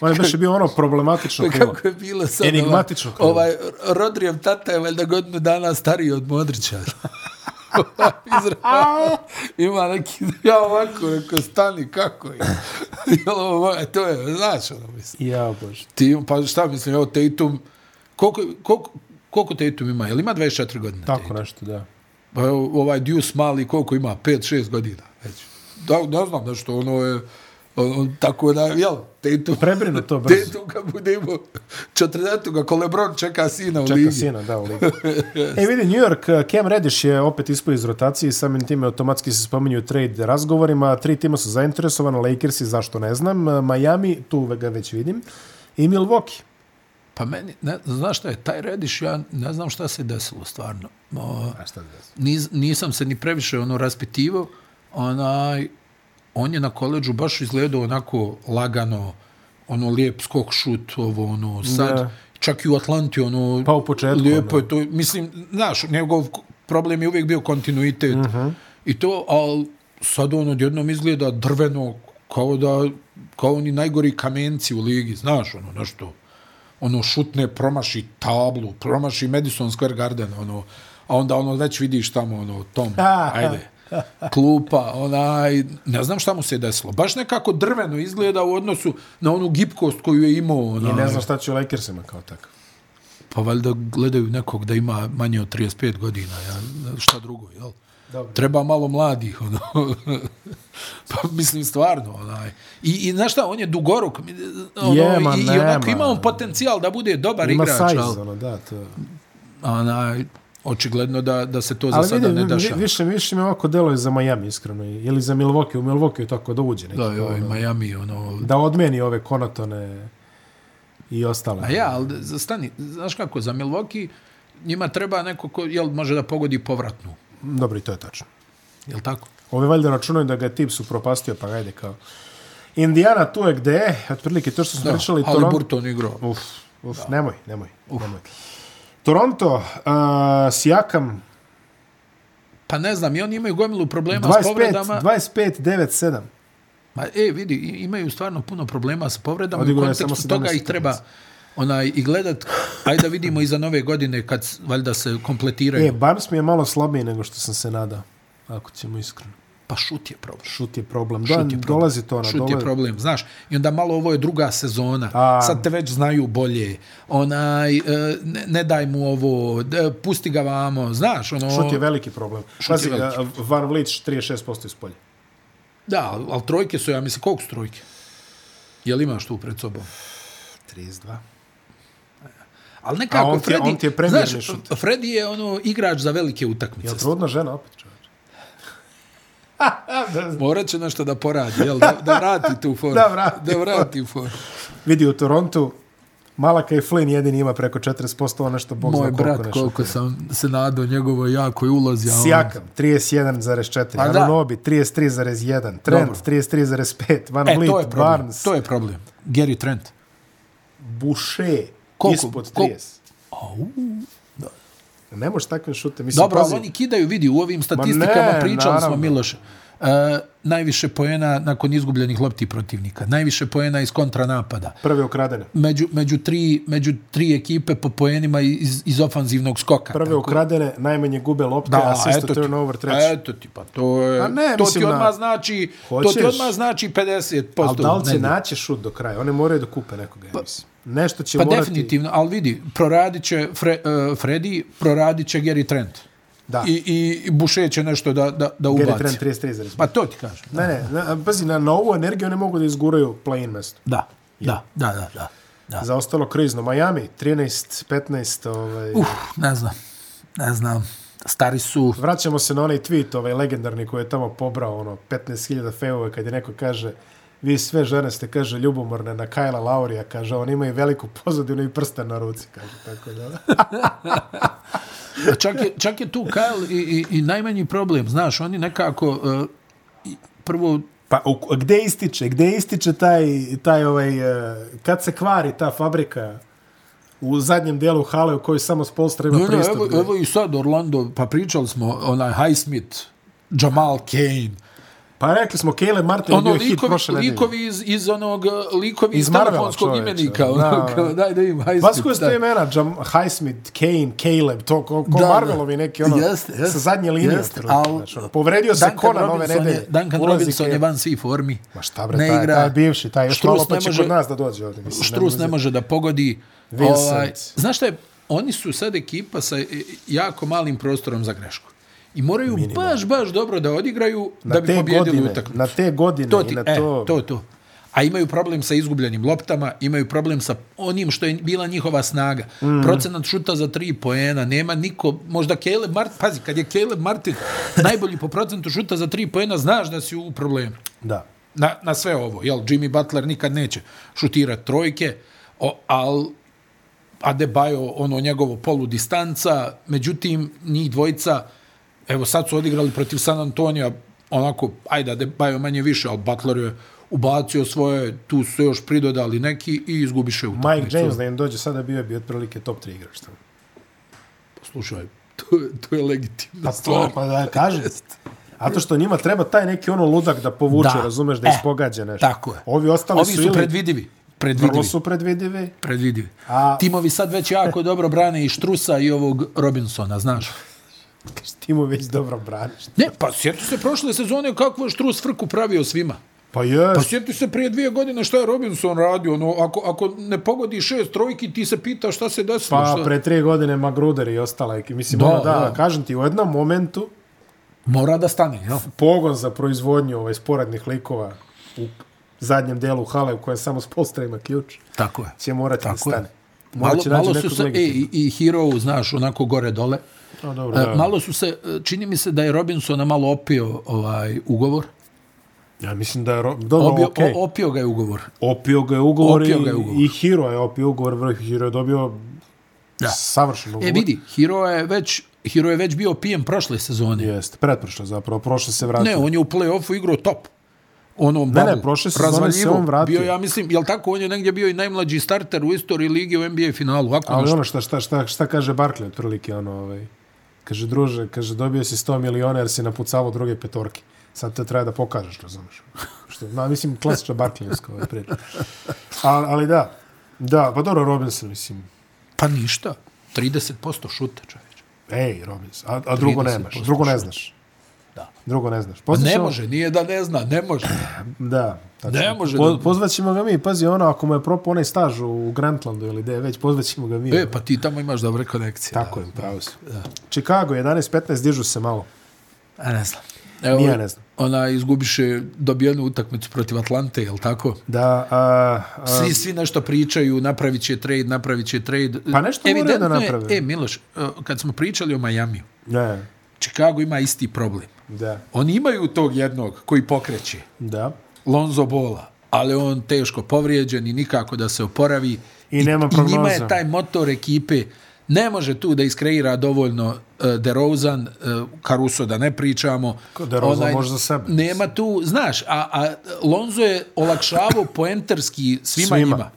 On je baš bio ono problematično krilo. [laughs] [laughs] kako je bilo sad. Enigmatično krilo. Ovaj, ovaj Rodrijev tata je valjda godinu dana stariji od [laughs] Modrića. Izra- Ima neki, ja ovako rekao, stani, kako je? [laughs] Jel ovo moje? to je, znaš, ono mislim. Ja, bože. Ti, pa šta mislim, evo Tatum, koliko, koliko, koliko Tatum ima? Jel ima 24 godine? Tako nešto, da. Pa evo, ovaj Deuce mali koliko ima? 5-6 godina već. Da, ne znam nešto, ono je, ono, tako da, jel, Tatum... Prebrinu to brzo. Tatum kad bude imao 40 ga, ko Lebron čeka sina u čeka Čeka ligi. sina, [laughs] da, u ligu. e, vidi, New York, eh, Cam Reddish je opet ispao iz rotacije i samim time automatski se spominju u trade razgovorima. Tri tima su zainteresovana, Lakersi, zašto ne znam, eh, Miami, tu ga već vidim, i Milwaukee. Pa meni, ne, znaš šta je, taj rediš, ja ne znam šta se desilo stvarno. O, A Pa šta da niz, nisam se ni previše ono raspitivao, onaj, on je na koleđu baš izgledao onako lagano, ono lijep skok šut, ovo ono, sad, Da. da. čak i u Atlanti, ono, Pa u početku, lijepo je to, mislim, znaš, njegov k- problem je uvijek bio kontinuitet uh -huh. i to, ali sad on odjednom izgleda drveno, kao da, kao oni najgori kamenci u ligi, znaš, ono, nešto, ono, šutne, promaši tablu, promaši Madison Square Garden, ono, a onda ono već vidiš tamo, ono, Tom, ajde, klupa, onaj, ne znam šta mu se desilo. Baš nekako drveno izgleda u odnosu na onu gipkost koju je imao. ono, Onaj. I ne znam šta će u Lakersima kao tako. Pa valjda gledaju nekog da ima manje od 35 godina, ja, šta drugo, jel? Dobro. Treba malo mladih, ono. [laughs] pa mislim, stvarno, onaj. I, i znaš šta, on je dugoruk, mi- ono, Jema, i, i onako nema. ima on potencijal da bude dobar Ima igrač, ali, size, ono, da, to... onaj, očigledno da, da se to za Ali sada ne vidim, vi- dešava. više, više mi ovako deluje za Miami, iskreno, i- ili za Milwaukee, u Milwaukee je tako da uđe neki. Da, joj, Miami, ono, da odmeni ove konatone i ostale. A ja, ali za- stani, znaš kako, za Milwaukee njima treba neko ko jel, može da pogodi povratnu, Dobro, i to je tačno. jel tako? Ove valjda računaju da ga je Tips upropastio, pa ajde kao... Indiana tu je gde je, otprilike to što smo da, pričali... ali Toron- Burton igrao. Uf, uf, nemoj, nemoj, nemoj. Toronto, uh, Sijakam, Pa ne znam, i oni imaju gomilu problema s 25, povredama. 25, 9, 7. Ma, e, vidi, i- imaju stvarno puno problema sa povredama i u Odigrao je samo kontekstu toga 17 ih treba onaj, i gledat. Ajde da vidimo iza nove godine kad s- valjda se E, kompletiraju. Barnes mi je malo slabiji nego što sam se nadao, ako ćemo iskreno. Pa šut je problem. Šut je problem. Da, Šut je šut je problem. dolazi to na Šut je dole. problem, znaš. I onda malo ovo je druga sezona. A. A... Sad te već znaju bolje. Onaj, e, ne, ne daj mu ovo, d- pusti ga vamo, znaš. Ono, Šut je veliki problem. je Pazi, veliki. a, Van Vliet 36% iz polja. Da, ali- ali trojke su, ja mislim, koliko su trojke? Jel imaš tu pred sobom? 32. Ali nekako, A on ti je- Freddy, on ti je premijerni znaš, šut. Freddy je ono igrač za velike utakmice. Je li trudna žena opet, čovječ? da, Morat će nešto da poradi, jel? [laughs] Da, da vrati tu foru. Da vrati da vrati foru. Vidi, u Torontu Malaka i Flynn jedini ima preko 40%, ono što Bog Moj zna koliko brat, nešto. koliko sam se nadao njegovoj jakoj ulozi. a on- Sijakam, 31,4. Pa da. Anunobi, 33,1. Trent, Dobro. 33,5. Van E, Vliet, to je problem. Barnes, To je problem. Gary Trent. Boucher, Koliko? ispod Koliko? 30. Ne možeš takvim šutem. Mislim, Dobro, ali pazi, oni kidaju, vidi, u ovim statistikama ne, pričali naravno. smo, Miloše. Uh, najviše poena nakon izgubljenih lopti protivnika. Najviše poena iz kontranapada. prve ukradene. Među, među, tri, među tri ekipe po poenima iz, iz ofanzivnog skoka. Prve ukradene, najmanje gube lopte, da, asist to ti. turnover treći. Eto ti, pa to je... A ne, to mislim ti na- odmah znači... To Hoćeš? ti odmah znači 50%. Ali da li će negdje. naći šut do kraja? One moraju da kupe nekoga, ja mislim. Nešto će Pa morati... definitivno, ali vidi, proradit će Fre, uh, Freddy, proradit će Gary Trent. Da. I, i, i Boucher će nešto da, da, da ubaci. Gary Trent 33,5. Pa to ti kažem. Ne, ne, na, pazi, na, na ovu energiju ne mogu da izguraju play-in mesto. Da, da, da, da. da. Da. Zaostalo krizno. Miami, 13, 15, ovaj... Uf. Ne znam, ne znam. Stari su, Vraćamo se na onaj tweet, ovaj legendarni koji je tamo pobrao, ono, 15.000 fejove kad je neko kaže vi sve žene ste, kaže, ljubomorne na Kajla Laurija, kaže, on ima i veliku pozadinu i prsten na ruci, kaže, tako da. čak je, čak je tu Kyle i, i, i najmanji problem, znaš, oni nekako, uh, i- prvo, [laughs] Pa u, gde ističe, gde ističe taj, taj ovaj, eh, kad se kvari ta fabrika u zadnjem dijelu hale u kojoj samo Spolstra ima Ne, ne, pristup. evo, gde- evo i sad Orlando, pa pričali smo, onaj Highsmith, Jamal Kane, Pa rekli smo, Caleb Martin je ono bio hit likovi, prošle nedelje. likovi iz, iz onog, uh, likovi iz, Iz iz Marvela, telefonskog čoveče. imenika, Da, ono, da. kao, daj da im Highsmith. Vas koje da. ste imena, Jam, Highsmith, Kane, Caleb, to ko, ko Da, da. Marvelovi neki, ono, Jeste, jeste. sa zadnje linije. Jeste, otprilike, al- znači, ono, povredio se Duncan Conan ove Robinson je- nedelje. Duncan ulazi Robinson je Kane. van svih formi. Ma šta bre, taj, taj bivši, taj još Štrus malo pa ne će može- kod nas da dođe ovdje. Mislim, Štrus ne može da pogodi. Vincent. Ovaj, znaš šta je, oni su sad ekipa sa e, jako malim prostorom za grešku. I moraju baš, baš dobro da odigraju Na da bi te pobjedili godine, utakmicu. na te godine to i ti, na e, to- to, to. A imaju problem sa izgubljenim loptama, imaju problem sa onim što je bila njihova snaga. Mm. Procenat šuta za tri poena, nema niko, možda Caleb Martin, pazi, kad je Caleb Martin najbolji po procentu šuta za tri poena, znaš da si u problemu Da. na, na sve ovo. Jel, Jimmy Butler nikad neće šutirati trojke, o, al Adebayo, ono njegovo polu distanca, međutim, njih dvojica, evo sad su odigrali protiv San Antonija, onako, ajde, Adebayo manje više, al Butler je ubacio svoje, tu su se još pridodali neki i izgubiše utakmicu. Mike James da im dođe sada bio bi otprilike top 3 igrač. tamo. Slušaj, to, je- to je legitimna Pa stvar. to, pa da [laughs] kažem. A to što njima treba taj neki ono ludak da povuče, Da. razumeš, da E, ispogađa nešto. Tako je. Ovi ostali Ovi su, su ili predvidivi. Predvidivi. vrlo su predvidivi. predvidivi. A- A... Timovi sad već jako dobro brane i Štrusa i ovog Robinsona, znaš. Ti mu već dobro braniš. Ne, pa sjeti se prošle sezone kako je Štrus frku pravio svima. Pa jes. Pa sjeti se prije dvije godine šta je Robinson radio. Ono, ako, ako ne pogodi šest trojki, ti se pita šta se desilo. Pa šta... pre tri godine Magruder i ostala ekipa. Mislim, da, Da, ono, da, da. kažem ti, u jednom momentu Mora da stane, jel? pogon za proizvodnju ovaj, sporadnih likova u zadnjem delu hale u kojem samo Spolstra ima ključ, Tako je. će morati da Tako je. stane. Malo, Morat će naći malo su nekog se, e, legitimnog. i, i Hero, znaš, onako gore-dole. A, dobro, E, da. malo su se, e, čini mi se da je Robinsona malo opio ovaj ugovor. Ja mislim da je... Ro... Dobro, Obio, okej. o, opio ga je ugovor. Opio ga je ugovor, Opio i- ga je ugovor. i Hiro je opio ugovor. vrh, Hiro je dobio Da. savršen ugovor. E vidi, Hero je već, Hero je već bio pijen prošle sezone. Jeste, pretprošlo zapravo, prošlo se vratio. Ne, on je u play-offu igrao top. Ono, Ne, ne, prošle sezone se on vratio. Bio, ja mislim, jel tako, on je negdje bio i najmlađi starter u istoriji lige u NBA finalu. Ako Ali nešto. ono šta, šta, šta, šta kaže Barkley otprilike, ono, ovaj, kaže, druže, kaže, dobio si 100 miliona jer si napucavao druge petorke. Sad te treba da pokažeš, razumeš. Što, no, mislim, klasična Barkleyovska ovaj priča. Ali, ali da, da, pa dobro, Robinson, mislim, Pa ništa. 30% šuta, čovječ. ej, Robinson, a, a drugo 30% nemaš, drugo ne znaš. Da. Drugo ne Pa znaš. ono- Ne Posjećamo- može, nije da ne zna, ne može. Da. Tačno. Ne može Po, da- pozvaćemo ga mi, pazi, ono, ako mu je propao onaj staž u Grantlandu ili gde je već, pozvaćemo ga mi. ono. E, pa ti tamo imaš dobre konekcije. Tako je, da. pravo si. Chicago, 11-15, dižu se malo. A E, ne znam. Evo, Ni ja ne znam. Ona izgubiše dobijenu utakmicu protiv Atlante, jel tako? Da, a, a, Svi, svi nešto pričaju, napravit će trade, napravit će trade. Pa nešto moraju da Evidentno je- naprave. E, Miloš, kad smo pričali o Majamiju, ne, Chicago ima isti problem. da, Oni imaju tog jednog koji pokreće, da. Lonzo Bola, ali on teško povrijeđen i nikako da se oporavi. I nema I njima prognoza. je taj motor ekipe, ne može tu da iskreira dovoljno eh, DeRozan, eh, Caruso da ne pričamo. Ko DeRozan može za sebe. Nema tu, znaš, a, a Lonzo je olakšavao poenterski svima, Svima. svima njima.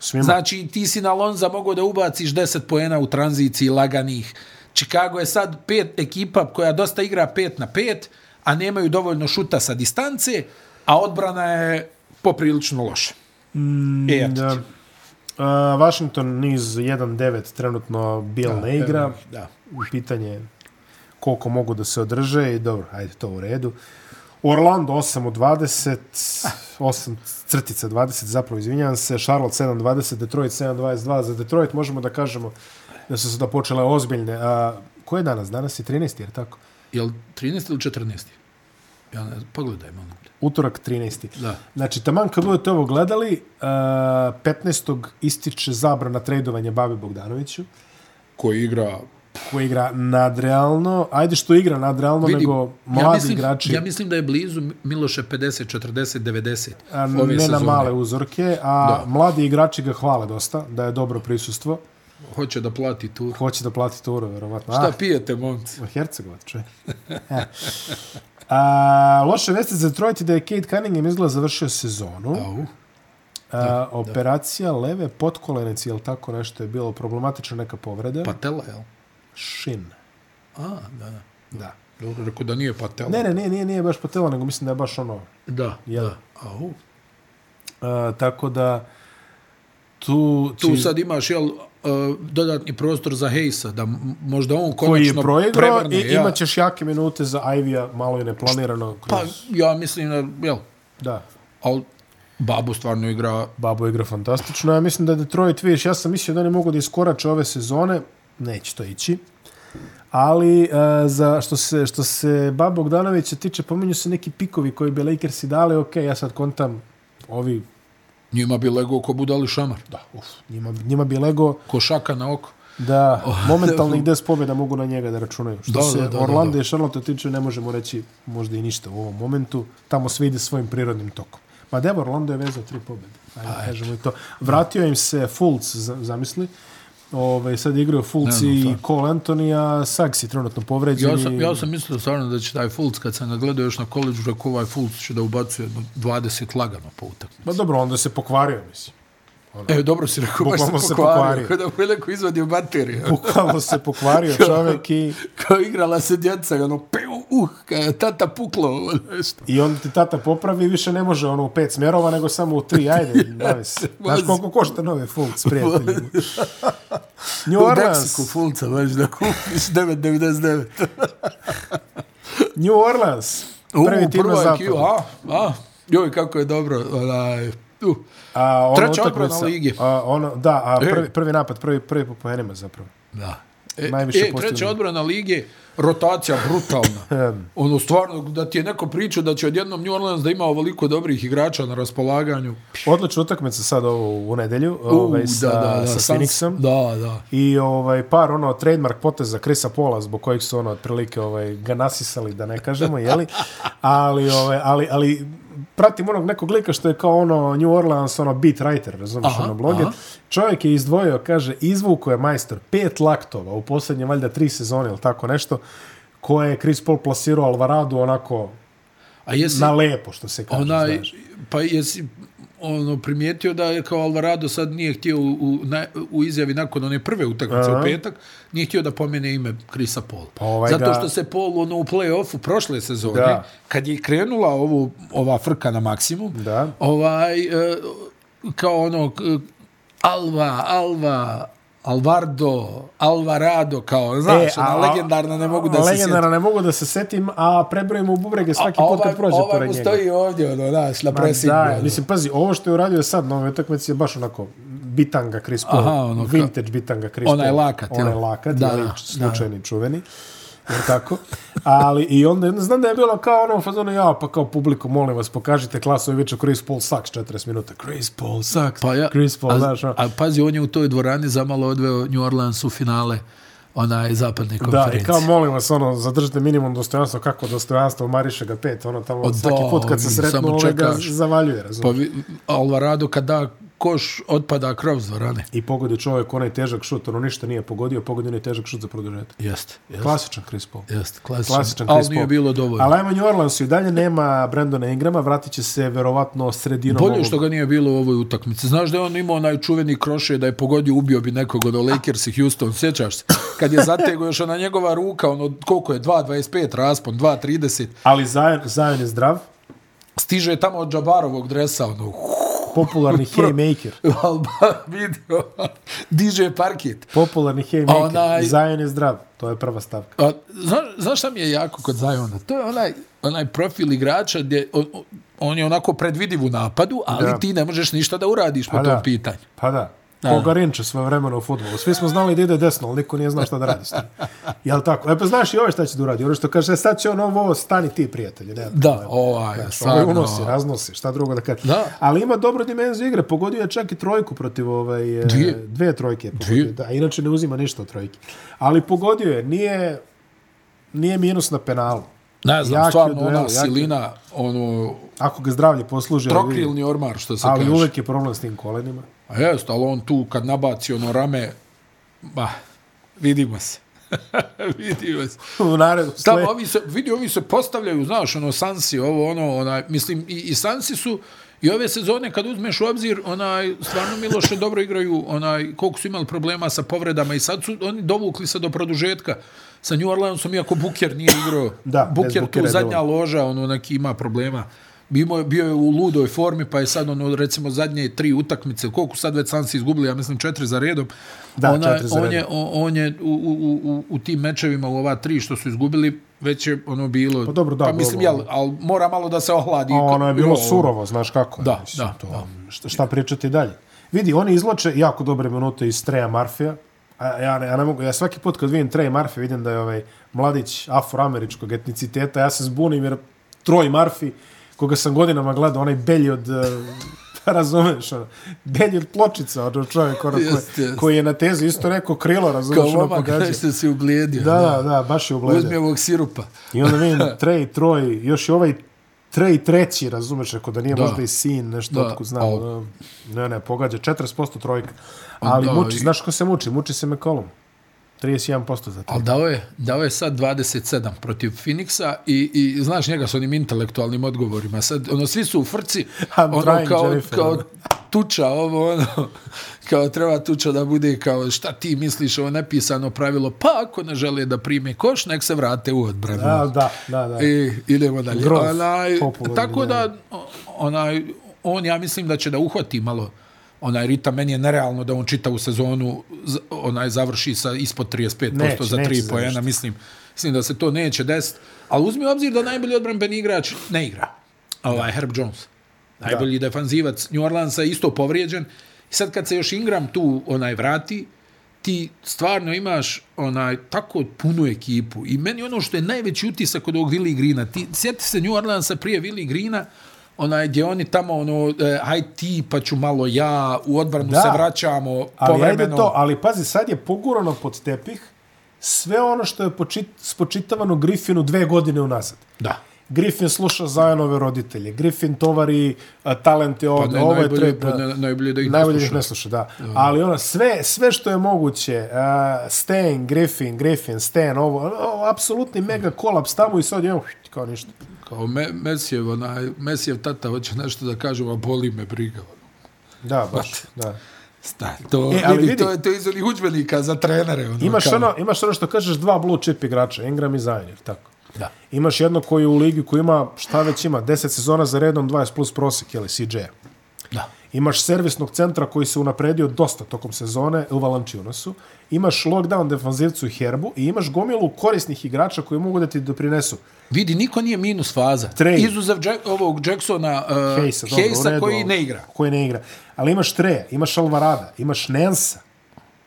Svima. Znači, ti si na Lonza mogao da ubaciš 10 poena u tranziciji laganih. Chicago je sad pet ekipa koja dosta igra 5 na 5, a nemaju dovoljno šuta sa distance, a odbrana je poprilično loša. Mm, e, eto da. ti. A, Washington niz 1-9 trenutno Bill ne igra. Da. Pitanje je koliko mogu da se održe i dobro, ajde to u redu. Orlando 8 od 20, 8 crtica 20 zapravo, izvinjavam se, Charlotte 7 20, Detroit 7 22. Za Detroit možemo da kažemo da su sada počele ozbiljne. A, ko je danas? Danas je 13, jer tako? Jel 13 ili 14? Ja ne, pogledaj malo. Utorak 13. Da. Znači, taman kad budete ovo gledali, uh, 15. ističe zabrana trejdovanja Babi Bogdanoviću, Koji igra... koji igra nadrealno. Ajde što igra nadrealno, Vidim, nego mladi ja mislim, igrači. Ja mislim da je blizu Miloše 50, 40, 90 A, ove ne sezone. na male uzorke, a Da. mladi igrači ga hvale dosta, da je dobro prisustvo. Hoće da plati tu. Hoće da plati turu, verovatno. Šta pijete, momci? Ah, Hercegovac, [laughs] čuje. E. a, loše veste za Detroit je da je Kate Cunningham izgleda završio sezonu. Au. A, operacija leve potkolenice, jel tako nešto je bilo problematično, neka povreda? Patela, jel? Šin. A, da, da. Da. Dobro, rekao da nije patela. Ne, ne, nije, nije, nije baš patela, nego mislim da je baš ono... Da, Jel? da. Au. A, tako da... Tu, Tu će- sad imaš, jel, uh, dodatni prostor za Hejsa, da m- možda on koji je konačno proigrao prevrne. i ja. imaćeš jake minute za Ivija, malo je neplanirano. Kroz, Pa, ja mislim da, jel, da. ali Babu stvarno igra Babo igra fantastično. Ja mislim da Detroit, vidiš, ja sam mislio da ne mogu da iskorače ove sezone. Neće to ići. Ali e, za što se što se Bab Bogdanovića tiče, pominju se neki pikovi koji bi Lakersi dali, ok, ja sad kontam ovi, Njima bi legao ko budali šamar. Da, uf. njima, njima bi lego Ko šaka na oko. [laughs] da momentalnih 10 pobjeda mogu na njega da računaju. Što Ovaj, Da, se da, da, da, Orlando da. i Charlotte tiče, ne možemo reći možda i ništa u ovom momentu. Tamo sve ide svojim prirodnim tokom. Ma da, evo, Orlando je vezao tri pobjede. Ajde, Pa, kažemo i to. Vratio im se Fultz, za- zamisli. Ove, sad igraju Fultz Ne znam i Cole Anthony, a Sags je trenutno povređen. Ja sam, i- ja sam mislio stvarno da će taj Fultz, kad sam ga gledao još na koleđu, rekao ovaj Fultz će da ubacuje jedno 20 lagano po utakmicu. Ma dobro, onda se pokvario, mislim. E, dobro si rekao, baš Bukvalno se se pokvario. pokvario. Kada mu je neko izvadio bateriju. Bukvalno se [laughs] pokvario čovjek i, Kao igrala se djeca, i ono, piu, uh, kao je tata puklo, ovo nešto. i onda ti tata popravi i više ne može ono u pet smjerova, nego samo u tri, [laughs] ajde, bavi se. Znaš Vozi. koliko košta nove Fultz, prijatelji? New U Deksiku Orleans, Fulca, baš da kupiš [laughs] 9,99. New Orleans, prvi U, tim na prva IQ, zapadu. A, a, joj, kako je dobro, onaj, uh, A, ono Treća utakmica- odbrana ligi. A, ono, da, a E. prvi, prvi napad, prvi, prvi po poenima zapravo. Da. E, Najviše e postignuto. treća odbrana lige, rotacija [laughs] brutalna. ono stvarno, da ti je neko pričao da će odjednom New Orleans da ima ovoliko dobrih igrača na raspolaganju. Odlična utakmica sad ovo u nedelju U, ovaj, sa, sa Suns- Phoenixom. Da, da. I ovaj par ono trademark poteza Krisa Pola zbog kojih su ono otprilike ovaj ga nasisali da ne kažemo je li ali ovaj ali ali pratim onog nekog lika što je kao ono New Orleans ono beat writer razumiješ Aha, ono bloger aha. čovjek je izdvojio kaže izvuko je majstor pet laktova u posljednje valjda tri sezone ili tako nešto koje je Chris Paul plasirao Alvarado onako A jesi, na lepo što se kaže onaj, znaš. pa jesi ono primijetio da je kao Alvarado sad nije htio u, u, na, u izjavi nakon one prve utakmice u petak, nije htio da pomene ime Krisa Paul. Pa ovaj Zato ga- što se Paul ono, u play-offu prošle sezone, Da. kad je krenula ovo, ova frka na maksimum, Da. ovaj, e, kao ono k- Alva, Alva, Alvardo, Alvarado, kao, znaš, e, ona legendarna, ne mogu da se sjetim. Legendarna ne mogu da se setim, a prebrojimo u bubrege svaki A put kad prođe ovaj pored mu njega. stoji ovdje, ono, znaš, na presingu. Da, ono. Pa mislim, pazi, ovo što je uradio sad na ovoj utakmici je baš onako bitanga Chris Paul, Aha, ono, ka- vintage bitanga Chris Paul. Onaj lakat, jel? Onaj lakat, Da, da, da, da, slučajni čuveni. Jer tako? Ali i onda, znam da je bilo kao ono, fazono, ja, pa kao publiku, molim vas, pokažite klasu i viče Chris Paul sucks 40 minuta. Chris Paul sucks, Pa ja, Chris Paul, a, znaš, ono. a pazi, on je u toj dvorani zamalo odveo New Orleans u finale onaj zapadne Da, konferencije. i kao molim vas, ono, zadržite minimum dostojanstva, kako dostojanstvo, mariše ga pet, ono, tamo da, svaki put kad se ono, samo sretnu, ovaj ga čekaš. zavaljuje, razumiješ? Pa vi, Alvarado kad da koš, otpada krov s dvorane. I pogodio čovjek onaj težak šut, ono ništa nije pogodio, pogodio onaj težak šut za produžetak. Jeste, jeste, Klasičan Chris Paul. jeste, klasičan, Klasičan Chris ali Paul. nije bilo dovoljno. Ali ajmo New Orleansu i dalje nema Brandona Ingrama, vratit će se verovatno sredinom Bolje ovog- što ga nije bilo u ovoj utakmici. Znaš da je on imao onaj čuveni kroše da je pogodio, ubio bi nekog od Lakers i Houston, sjećaš se? Kad je zategao još ona njegova ruka, ono, koliko je, 2.25 raspon, 2.30, Ali Zion, Zion je zdrav, stiže tamo od Džabarovog dresa, ono, [laughs] popularni haymaker. ali ba, vidio, diže parkit. Popularni haymaker. Onaj- Zion je zdrav, to je prva stavka. A, zna, znaš šta mi je jako kod Zajona? To je onaj, onaj profil igrača gdje on, on je onako predvidiv u napadu, ali Da. ti ne možeš ništa da uradiš po Pa tom da. pitanju. Pa da. Pogarinče svoje vremena u futbolu. Svi smo znali da ide desno, ali niko nije znao šta da radi s tim. Jel tako? E pa znaš i ovo šta će da uradi. Ono što kaže, "E, sad će on ovo, stani ti prijatelju. Ne, Da, ovaj, Znaš, ovaj stvarno. unosi, raznosi, šta drugo da kaže. Da. Ali ima dobru dimenziju igre, pogodio je čak i trojku protiv ovaj, e, Dvije. dve trojke. je Pogodio, Dvije. Da, inače ne uzima ništa od trojke. Ali pogodio je, nije, nije minus na penalu. Ne znam, Jaki stvarno duel, ona jaki. silina, ono, Ako ga zdravlje posluži, ali vidi. trokrilni ormar, što se ali kaže. uvek je problem s tim kolenima. [laughs] A jest, ali on tu kad nabaci ono rame, bah, vidimo se. [laughs] vidimo se. U naredu, Tamo sled- ovi se, vidi, ovi se postavljaju, znaš, ono, Sansi, ovo, ono, onaj, mislim, i, i Sansi su, i ove sezone, kad uzmeš u obzir, onaj, stvarno Miloše dobro igraju, onaj, koliko su imali problema sa povredama i sad su oni dovukli se do produžetka sa New Orleansom, iako Buker nije igrao. Da, bez Buker tu Bookera je zadnja bilo. loža, ono, neki ima problema. Bio, bio je u ludoj formi, pa je sad, ono, recimo, zadnje tri utakmice, koliko sad već Sansi izgubili, ja mislim, četiri za redom. Da, Ona- četiri za on redom. je- o- on je u, u, u- u, u tim mečevima u ova tri što su izgubili već je ono bilo Pa dobro, da, pa mislim dobro. jel al mora malo da se ohladi A ono je bilo Ovo- surovo, znaš kako je. Da, mislim, da, to, Šta, šta pričati dalje? Vidi, oni izlače jako dobre minute iz Treja Marfija. A, ja, ne, ja, ne mogu, ja svaki put kad vidim Treja Marfija vidim da je ovaj mladić afroameričkog etniciteta. Ja se zbunim jer Troj Marfi, koga sam godinama gledao, onaj belji od... eh, [laughs] razumeš, ono, belji od pločica, ono čovjek, ono, Jest, koji, jest. koji je na tezi isto rekao krilo, kao razumeš, ono vama [laughs] pogađa. kada ste se uglijedio Da, da, da, baš je ugledio. uzmi ovog sirupa I onda [laughs] vidim Trey, Troj, još i ovaj Trey treći, razumeš, ako da nije Da. možda i sin, nešto Da, otkud znam. al- ono, Ne, ne, pogađa, 40% trojka. Ali da, muči, i- znaš ko se muči? Muči se McCollum. 31% za to. al dao je dao je sad 27 protiv Phoenixa i i znaš njega sa onim intelektualnim odgovorima sad ono svi su u frci [laughs] I'm ono trying, kao Jennifer, kao ono. tuča ovo ono kao treba tuča da bude kao šta ti misliš ovo nepisano pravilo pa ako ne žele da prime koš nek se vrate u odbranu Da, da, da. da. I idemo dalje. Grof, onaj, Ovaj, popularni, tako da, o- onaj, on ja mislim da će da uhvati malo onaj ritam. Meni je nerealno da on čita u sezonu z- onaj završi sa ispod 35% Neće, za neće 3 završiti. poena. Mislim, mislim da se to neće desiti. Ali uzmi u obzir da najbolji odbranbeni igrač ne igra. Ovaj, Herb Jones. Najbolji da. defanzivac New Orleansa je isto povrijeđen. I sad kad se još Ingram tu onaj vrati, ti stvarno imaš onaj tako punu ekipu i meni ono što je najveći utisak od ovog Willi Grina ti sjeti se New Orleansa prije Willi Grina onaj gdje oni tamo ono e, aj ti pa ću malo ja u odbranu Da. da. se vraćamo Ali ajde povremeno to, ali pazi, sad je pogurano pod tepih sve ono što je počit, spočitavano Griffinu dve godine unazad. da Griffin sluša Zajanove roditelje, Griffin tovari a, talente ovde, ne, ovo je najbolje, treba... pa ne, najbolje da Najbolje da ih najbolje ih ne sluša, da. Ali ono, sve, sve što je moguće, uh, Stan, Griffin, Griffin, Stan, ovo, o, apsolutni mega kolaps tamo i sad je, kao ništa. kao me, Mesijev onaj Mesijev tata hoće nešto da kaže a boli me briga Da, baš, da. Sta, to, E, e, ali vidi, vidi. to je to je iz onih udžbenika za trenere ono, Imaš kao- ono, imaš ono što kažeš dva blue chip igrača, Ingram i Zion, jel tako? da Imaš jedno koji je u ligi koji ima, šta već ima, 10 sezona za redom, 20 plus prosek, jel, CJ-a. da Imaš servisnog centra koji se unapredio dosta tokom sezone u Valančiunasu. Imaš lockdown defanzivcu i Herbu i imaš gomilu korisnih igrača koji mogu da ti doprinesu. Vidi, niko nije minus faza. Trey. Izuzev Jack, ovog Jacksona uh, Hejsa, dobro, u Hayesa redu, koji ali- ne igra. Koji ne igra. Ali imaš Treja, imaš Alvarada, imaš Nensa,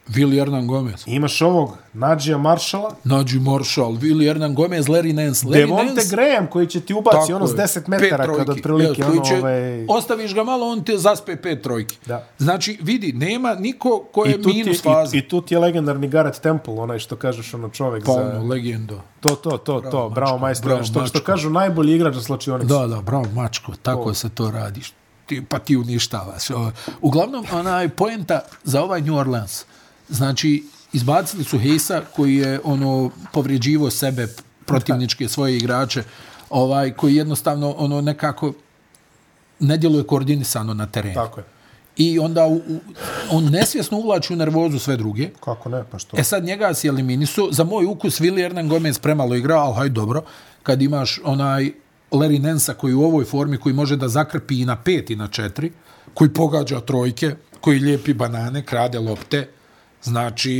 Willi Hernan Gomez. imaš ovog Nadžija Maršala, Nađi Marshall, Willi Hernan Gomez, Larry Nance. Larry Devonte Nance, Graham koji će ti ubaci tako ono s je, 10 pet metara trojki. kada otprilike Evo, ono koji će- ovaj... Ostaviš ga malo, on te zaspe pet trojki. Da. Znači, vidi, nema niko ko je I tu, ti, minus faza. i, I tu ti je legendarni Garrett Temple, onaj što kažeš ono čovek pa za... ono, legendo. To, to, to, to, bravo majstor, bravo što, što mačko. kažu najbolji igrač na slačionicu. Da, da, bravo, mačko, tako se to radi. Ti, pa ti uništavaš. Ovo. Uglavnom, onaj poenta za ovaj New Orleans, znači, izbacili su Hesa koji je ono povrijeđivo sebe protivničke svoje igrače, ovaj koji jednostavno ono nekako ne djeluje koordinisano na terenu. Tako je. I onda u, u, on nesvjesno uvlači u nervozu sve druge. Kako ne, pa što? E sad njega si eliminisu. Za moj ukus Vili Hernan Gomez premalo igrao, ali haj dobro. Kad imaš onaj Larry Nensa koji u ovoj formi, koji može da zakrpi i na pet i na četiri, koji pogađa trojke, koji lijepi banane, krade lopte. Znači,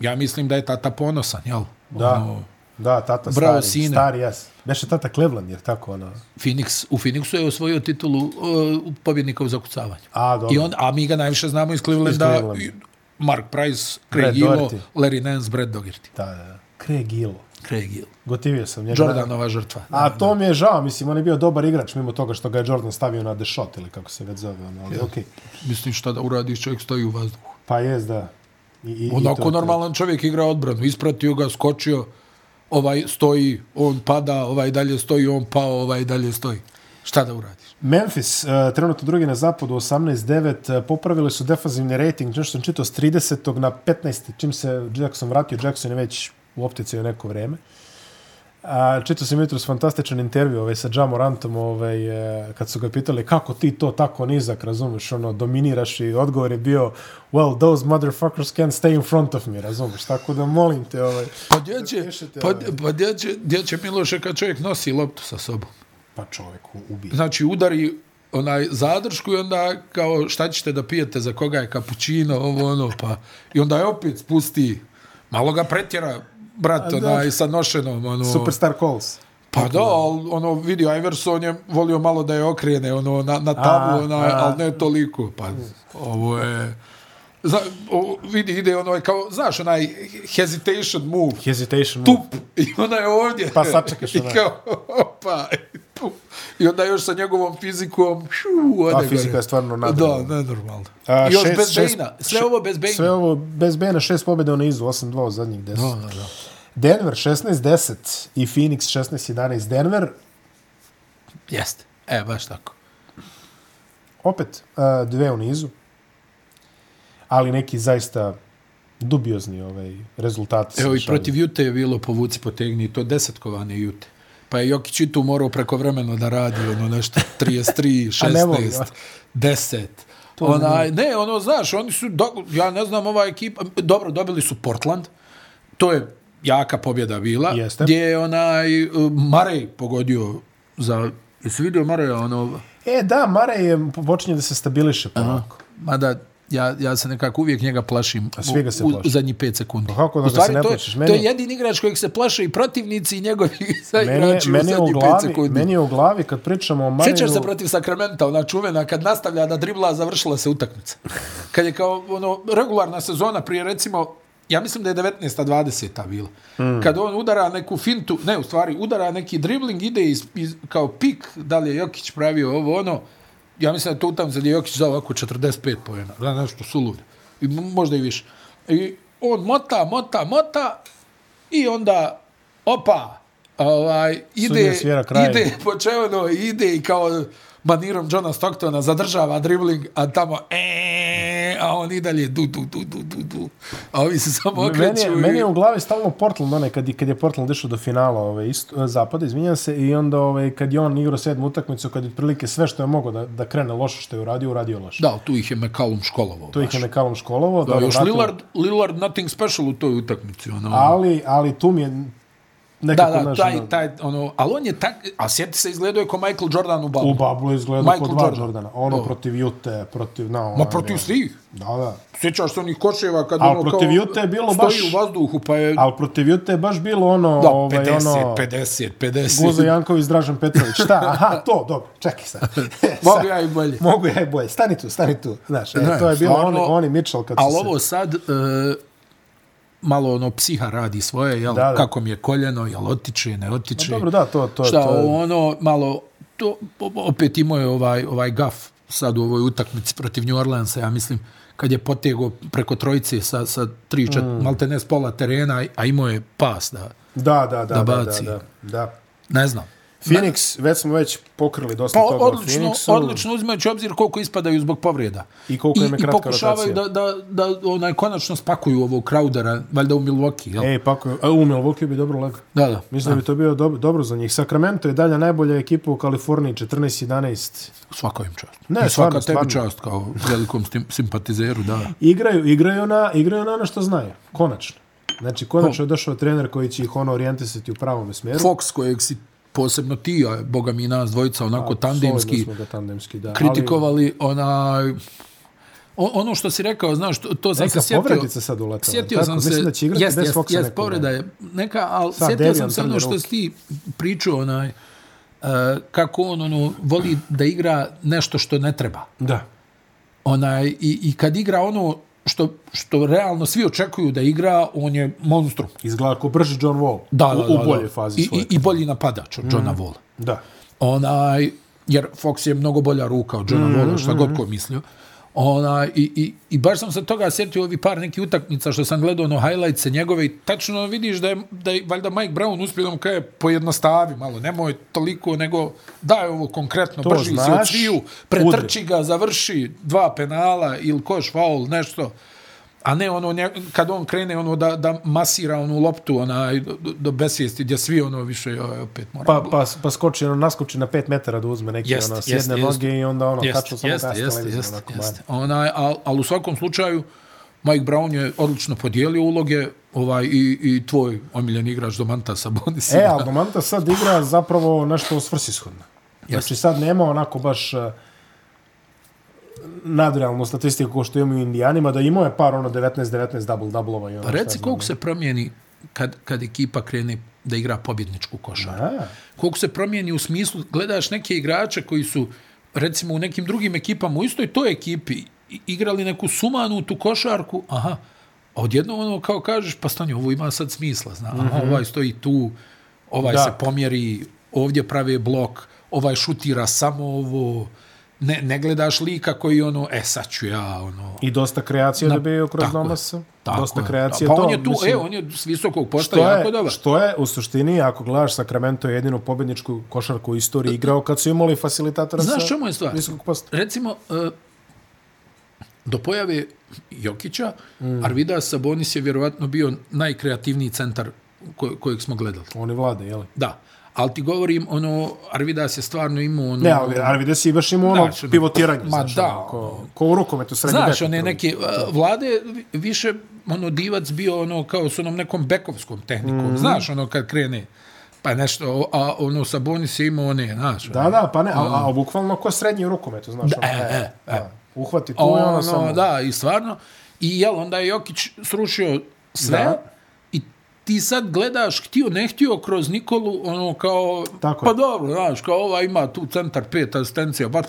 ja mislim da je tata ponosan, jel? Da. Da, tata Bravo, stari, sine. stari jas. Beše tata Cleveland, jer tako ono... Phoenix, u Phoenixu je osvojio titulu uh, pobjednika u zakucavanju. A, dobro. I on, a mi ga najviše znamo iz Clevelanda, Iz Clevelanda. i- Mark Price, Brad Craig Ilo, Doherty. Larry Nance, Brad Dogerty. Da, da, da. Craig Hill. Craig Ilo. Gotivio sam njega. Jordanova žrtva. A to mi je žao, mislim, on je bio dobar igrač mimo toga što ga je Jordan stavio na The Shot ili kako se već zove, ono, ali okej. Mislim šta da uradiš, čovjek stoji u vazduhu. Pa jest, da. I, i, i to je Onako to. normalan čovjek igra odbranu, ispratio ga, skočio, ovaj stoji, on pada, ovaj dalje stoji, on pao, ovaj dalje stoji. Šta da uradiš? Memphis, uh, trenutno drugi na zapadu, 18-9, uh, popravili su defanzivni rating, nešto sam čitao, s 30. na 15. Čim se Jackson vratio, Jackson je već u optici u neko vreme. A, čitao sam jutros fantastičan intervju ovaj, sa Ja Morantom, ovaj, eh, kad su ga pitali kako ti to tako nizak, razumeš, ono, dominiraš i odgovor je bio well, those motherfuckers can't stay in front of me, razumeš, tako da molim te, ovaj, Pa gdje će, Zapišite, pa, ovaj. pa gdje će, gdje će Miloše kad čovjek nosi loptu sa sobom? pa čoveku, ubij. Znači udari onaj zadršku i onda kao šta ćete da pijete, za koga je kapućino, ovo ono, pa i onda je opet spusti, malo ga pretjera brat A da. onaj sa nošenom, ono, Superstar calls. Pa da, ali ono vidi, Iverson je volio malo da je okrene ono, na, na A, tablu, ona, a. ali ne toliko. Pa ovo je... Zna, o, vidi, ide ono, kao, znaš, onaj hesitation move, Hesitation. move. tup, i onda je ovdje. Pa sačekaš I onaj. kao, opa, i tup. I onda još sa njegovom fizikom, šu, ode A gore. fizika je stvarno Da, nadrealna. nenormalno. A, I još šest- bez šest- Bejna, sve ovo bez Bejna. Sve ovo bez Bena, šest pobjeda u nizu, 8-2 u zadnjih 10. Da, da, da. Denver 16-10 i Phoenix 16-11. Denver, Jeste, e, baš tako. opet uh, dve u nizu, ali neki zaista dubiozni ovaj, rezultati. Evo se i šalju. protiv Jute je bilo povuci potegni i to desetkovane Jute. Pa je Jokić i tu morao prekovremeno da radi ono nešto [laughs] 33, A ne voli, 16, a? 10. Onaj, ne, ono, znaš, oni su, do, ja ne znam, ova ekipa, dobro, dobili su Portland, to je jaka pobjeda bila, Jeste. gdje je onaj uh, Marej pogodio za, jesi vidio Mareja, ono, E, da, Mare je počinje da se stabiliše polako. mada ja, ja se nekako uvijek njega plašim A svi ga se u, u plaše. Pa zadnjih 5 sekundi. kako da u ga se stvari, ne to, je- plašiš? to Meni je je- jedini igrač kojeg se plaše i protivnici i njegovi [laughs] Meni, je, saigrači u meni, je u zadnjih 5 glavi, sekundi. meni je u glavi kad pričamo o Mariju... Sjećaš se protiv Sakramenta, ona čuvena, kad nastavlja da dribla, završila se utakmica. Kad je kao ono, regularna sezona prije recimo, ja mislim da je 19. 20. bila. Hmm. Mm. Kad on udara neku fintu, ne u stvari, udara neki dribling, ide iz, iz, kao pik, da li je Jokić pravio ovo ono, ja mislim da je to utakmica gdje je Jokić za ovako 45 pojena, da nešto suludo. I m- možda i više. I on mota, mota, mota, I onda, opa, ovaj, Sudija ide, svira kraj. ide počevno, ide i kao manirom Johna Stocktona zadržava dribling, a tamo, e, a on i dalje du, du, du, du, du, du. A ovi se samo okreću. Meni je, i- meni je u glavi stalno Portland, onaj kad, je- kad je Portland išao do finala ovaj, isto, eh, zapada, izvinjam se, i onda ovaj, kad je on igrao sedmu utakmicu, kad je otprilike sve što je mogao da, da krene loše što je uradio, uradio loše. Da, tu ih je McCallum školovo. To ih je nekalom školovo. Da, još vratilo- Lillard, Lillard nothing special u toj utakmici. Ono. Ali, ali tu mi je nekako... da, da, znaš, ono, taj, taj, ono, ali on je tak, a sjeti se izgledao je ko Michael Jordan u babu. U bablu izgleda Michael kod dva Jordan. Jordan. Jordana. Ono Da. protiv Jute, protiv... Na, ono, Ma protiv ono. svih. Da, da. Sjećaš se onih koševa kad Ali ono protiv Jute je bilo stoji baš- u vazduhu pa je Ali protiv Jute je baš bilo ono... Da, ovaj, 50, ono, 50, 50. Guza Janković, Dražan Petrović. Šta? Aha, to, dobro. Čekaj sad. Sad. [laughs] Mogu ja i bolje. Mogu ja i bolje. Stani tu, stani tu. Znaš, e, Ne, to je bilo oni, stvarno- oni Mitchell kad Ali su se... ovo sad, e, malo ono psiha radi svoje, jel, Da, da. kako mi je koljeno, jel otiče, ne otiče. Dobro, da, to, to, Šta, to je... ono, malo, to, o- opet imao je ovaj, ovaj gaf sad u ovoj utakmici protiv New Orleansa, ja mislim, kad je potegao preko trojice sa, sa tri, čet, mm. malte ne s pola terena, a imao je pas, da, Da, da, da, da, da, baci. da, da. ne znam. Phoenix, već smo već pokrili dosta Pa toga odlično, o Phoenixu. odlično uzimajući obzir koliko ispadaju zbog povreda. I koliko im je kratka I pokušavaju rotacija. da, da, da onaj, konačno spakuju ovog Crowdera, valjda u Milwaukee, jel? E, Ej, pa ko- a, u Milwaukee bi dobro legao. da, da. Mislim da bi to bio dob dobro za njih. Sacramento je dalje najbolja ekipa u Kaliforniji, 14-11. Svaka im čast. Ne, I stvarno, svaka tebi stvarno. čast kao velikom stim, simpatizeru, da. Igraju, igraju, na, igraju na ono što znaju. Konačno. Znači, konačno je došao trener koji će ih ono orijentisati u pravom smeru. Fox kojeg si posebno ti, a boga Pa, mi i nas dvojica, onako tandemski, Solidno smo ga tandemski, da. kritikovali onaj O, ono što si rekao, znaš, to, to sam Neka se sjetio. povretica sad uletela, Sjetio tako? sam se, Mislim da će igrati jest, bez jest, Foxa jest, neko povreda je neka, ali Sad sjetio Devijan sam se trlja ono što ruke. si ti pričao, onaj, uh, kako on ono, voli da igra nešto što ne treba. Da. Onaj, i, I kad igra ono što, što realno svi očekuju da igra, on je monstrum. Izgleda kao brži John Wall. Da, u, da, da, u boljoj da. fazi I, svoje. i, I bolji napadač od Johna mm. Walla. Da. Onaj, jer Fox je mnogo bolja ruka od Johna mm, Mm-hmm. Walla, šta mm. god ko mislio. Ona, i, i, I baš sam se toga sjetio ovi par neki utakmica što sam gledao ono highlights njegove i tačno vidiš da je, da je valjda Mike Brown uspio da mu kaže pojednostavi malo, nemoj toliko, nego daj ovo konkretno, To to brži se od znaš, sviju, pretrči ga, završi dva penala ili koš, faul, nešto. A ne ono, nje, kad on krene ono da, da masira onu loptu onaj, do, do- do besvijesti gdje svi ono više joj, opet mora. Pa, pa, pa skoči, ono, naskoči na 5 metara da uzme neki, Jest, ono, jest, sjedne jest. noge i onda, ono, Jeste, kaču samo jeste, gas jeste, televizor, jeste, onako, E, jeste. Onaj, ali al u svakom slučaju, Mike Brown je odlično podijelio uloge ovaj, i, i tvoj omiljen igrač Domanta Sabonis. E, ali Domanta sad igra zapravo nešto svrsishodno. Znači sad nema onako baš eh, nadrealnu statistiku kao što imamo u Indijanima, da imao je par ono 19-19 double-doublova. i ono Pa šta reci znam. koliko se promijeni kad, kad ekipa krene da igra pobjedničku košarku. A, Koliko se promijeni u smislu, gledaš neke igrače koji su, recimo u nekim drugim ekipama, u istoj toj ekipi, i- igrali neku sumanutu košarku, aha, a odjedno ono kao kažeš, pa stani, ovo ima sad smisla, zna, aha, ovaj stoji tu, ovaj Mhm. Da. da. se pomjeri, ovdje prave blok, ovaj šutira samo ovo, ne, ne gledaš lika koji ono, e sad ću ja, ono, I dosta kreacije Na- dobio kroz tako je, Domasa. Tako Dosta je. kreacije. Pa to, on je tu, mislim, e, on je s visokog posta Što jako je, dobar. što je u suštini, ako gledaš Sacramento je jedinu pobjedničku košarku u istoriji igrao kad su imali facilitatora Znaš sa čemu je stvar? visokog posta. Recimo, e, do pojave Jokića, mm. Arvidas Sabonis je vjerovatno bio najkreativniji centar ko, kojeg smo gledali. Oni vlade, jeli? Da, ali ti govorim, ono, Arvidas je stvarno imao ono... Ne, ali Arvides je baš imao ono Znaš, ono- pivotiranje. Ma znaš, da, ono, Ko, ko u rukometu srednji Znaš, bek ono. one upravo. neke uh, vlade vi- više ono divac bio ono kao s onom nekom bekovskom tehnikom. Mm. Znaš, ono kad krene pa nešto, a ono Sabonis je imao one, znaš. ono. Da, da, pa ne, a, a, a bukvalno ko srednji u rukometu, znaš. Da, ono, Mm. e, e, da. Uhvati tu i ono, ono samo... da, i stvarno. I jel, onda je Jokić srušio sve Da. da. i ti sad gledaš, htio, ne htio, kroz Nikolu, ono kao, Tako pa je. dobro, znaš, kao ova ima tu centar pet asistencija, pa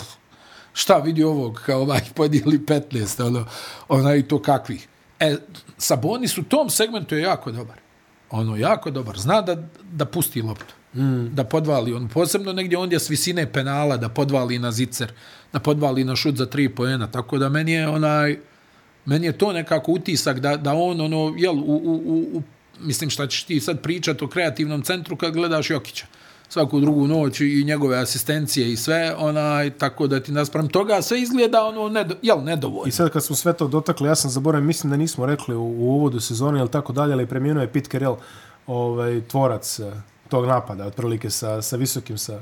šta vidi ovog, kao ovaj [laughs] podijeli 15, ono, ona i to kakvih. E, Sabonis u tom segmentu je jako dobar. Ono, jako dobar. Zna da, da pusti loptu. Hmm. Mm. Da podvali. On posebno negdje ondje s visine penala, da podvali na zicer, da podvali na šut za tri poena. Tako da meni je onaj, meni je to nekako utisak da, da on, ono, jel, u, u, u, u, mislim šta ćeš ti sad pričati o kreativnom centru kad gledaš Jokića svaku drugu noć i njegove asistencije i sve, onaj, tako da ti naspram toga sve izgleda, ono, nedo, jel, I nedovoljno. sad kad smo sve to dotakli, ja sam zaboravio, mislim da nismo rekli u, u uvodu sezone ili tako dalje, ali preminuo je Pete Carell, ovaj, tvorac eh, tog napada, otprilike sa, sa visokim, sa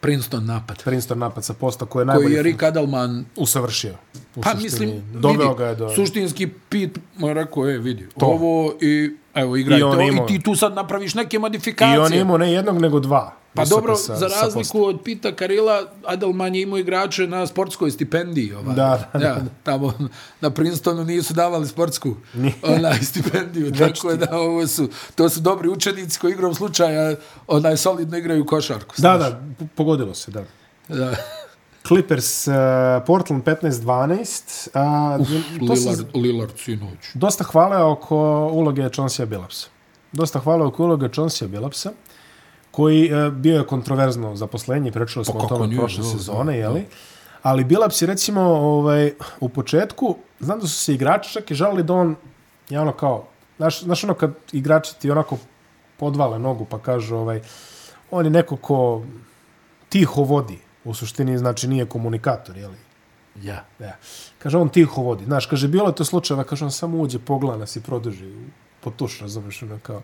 Princeton napad, Princeton napad sa posta koji je koji najbolje je Rick Adelman usavršio. U Pa suštini. mislim, doveo vidi, ga je do... suštinski Pit mu je rekao, e, vidi, to. ovo i evo, igrajte I on ovo imao- i ti tu sad napraviš neke modifikacije. I on je imao ne jednog, nego dva. Pa visoka dobro, sa- sa za posta. razliku od Pita Karila, Adelman je imao igrače na sportskoj stipendiji. Ovaj. Da, da, ja, Tamo na Princetonu nisu davali sportsku onaj, [laughs] stipendiju. tako da ovo su, to su dobri učenici koji igrom slučaja onaj, solidno igraju košarku. Da, da, p- pogodilo se, da. da. Clippers, uh, Portland 15-12. Uh, to sam Lillard, Lillard sinoć. dosta hvale oko uloge Chauncea Billupsa. Dosta hvale oko uloge Chauncea Billupsa, koji e, bio je kontroverzno zaposlenje, pričali smo Pa o kako tome nije, prošle da, sezone, da, jeli? Ali Billups je recimo ovaj, u početku, znam da su se igrači čak i žalili da on je ono kao, znaš, znaš ono kad igrači ti onako podvale nogu pa kažu ovaj, on je neko ko tiho vodi, u suštini znači nije komunikator, jeli? Ja. Da. Kaže, on tiho vodi. Znaš, kaže, bilo je to slučajeva, kaže, on samo uđe, pogleda nas i produži po tuš, razumeš, ono kao,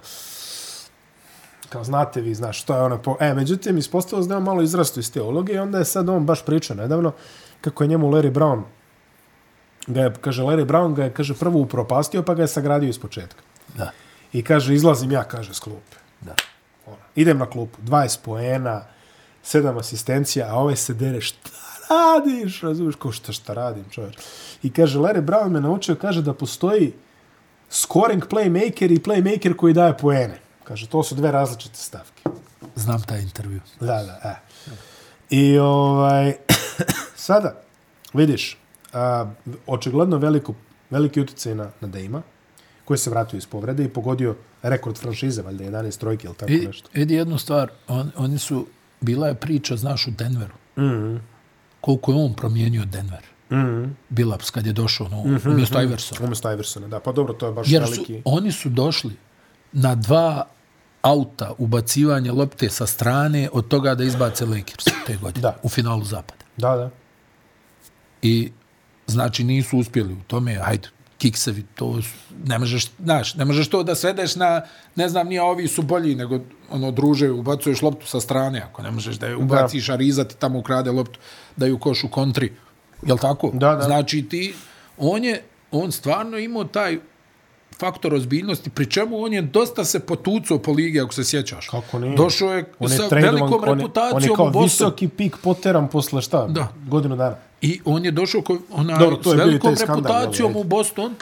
kao znate vi, znaš, što je ono po... E, međutim, ispostavilo se da je on malo izrastu iz te uloge i onda je sad on baš pričao nedavno kako je njemu Larry Brown ga je, kaže, Larry Brown ga je, kaže, prvo upropastio pa ga je sagradio iz početka. Da. I kaže, izlazim ja, kaže, s klupe. Da. Ono, idem na klupu, 20 poena, 7 asistencija, a ovaj se dere, šta radiš? Razumiješ, kao šta šta radim, čovječ. I kaže, Larry Brown me naučio, kaže da postoji scoring playmaker i playmaker koji daje poene. Kaže, to su dve različite stavke. Znam taj intervju. Da, da, e. I ovaj, [coughs] sada, vidiš, a, očigledno veliku, veliki utjecaj na, na Dejma, koji se vratio iz povrede i pogodio rekord franšize, valjda 11 trojke ili tako I, nešto. vidi jednu stvar, on, oni su, bila je priča, znaš, u Denveru. Mm -hmm. Mhm. Koliko je on promijenio Denver. Mm -hmm. Bilaps kad je došao no, mm Mhm, -hmm, umjesto Iversona. Umjesto Iversona, da. Pa dobro, to je baš Jer su, veliki... oni su došli na dva auta ubacivanje lopte sa strane od toga da izbace Lakers te godine Da. u finalu zapada. Da, da. I znači nisu uspjeli u tome, ajde, kiksevi, to su, ne možeš, znaš, ne možeš to da svedeš na, ne znam, nije ovi su bolji, nego ono, druže, ubacuješ loptu sa strane, ako ne možeš da je ubaciš, a Riza ti tamo ukrade loptu, da ju koš u kontri. Jel tako? Da, da. Znači ti, on je, on stvarno imao taj faktor ozbiljnosti, pri čemu on je dosta se potucao po ligi, ako se sjećaš. Kako ne? Došao je, On je sa tradovan- velikom on je- reputacijom On je kao u Bostonu. visoki pik poteran posle šta? Da. Godinu dana. I on je došao ko, onaj, Dobro, to s je bio i velikom taj skandal, reputacijom jel, u Boston,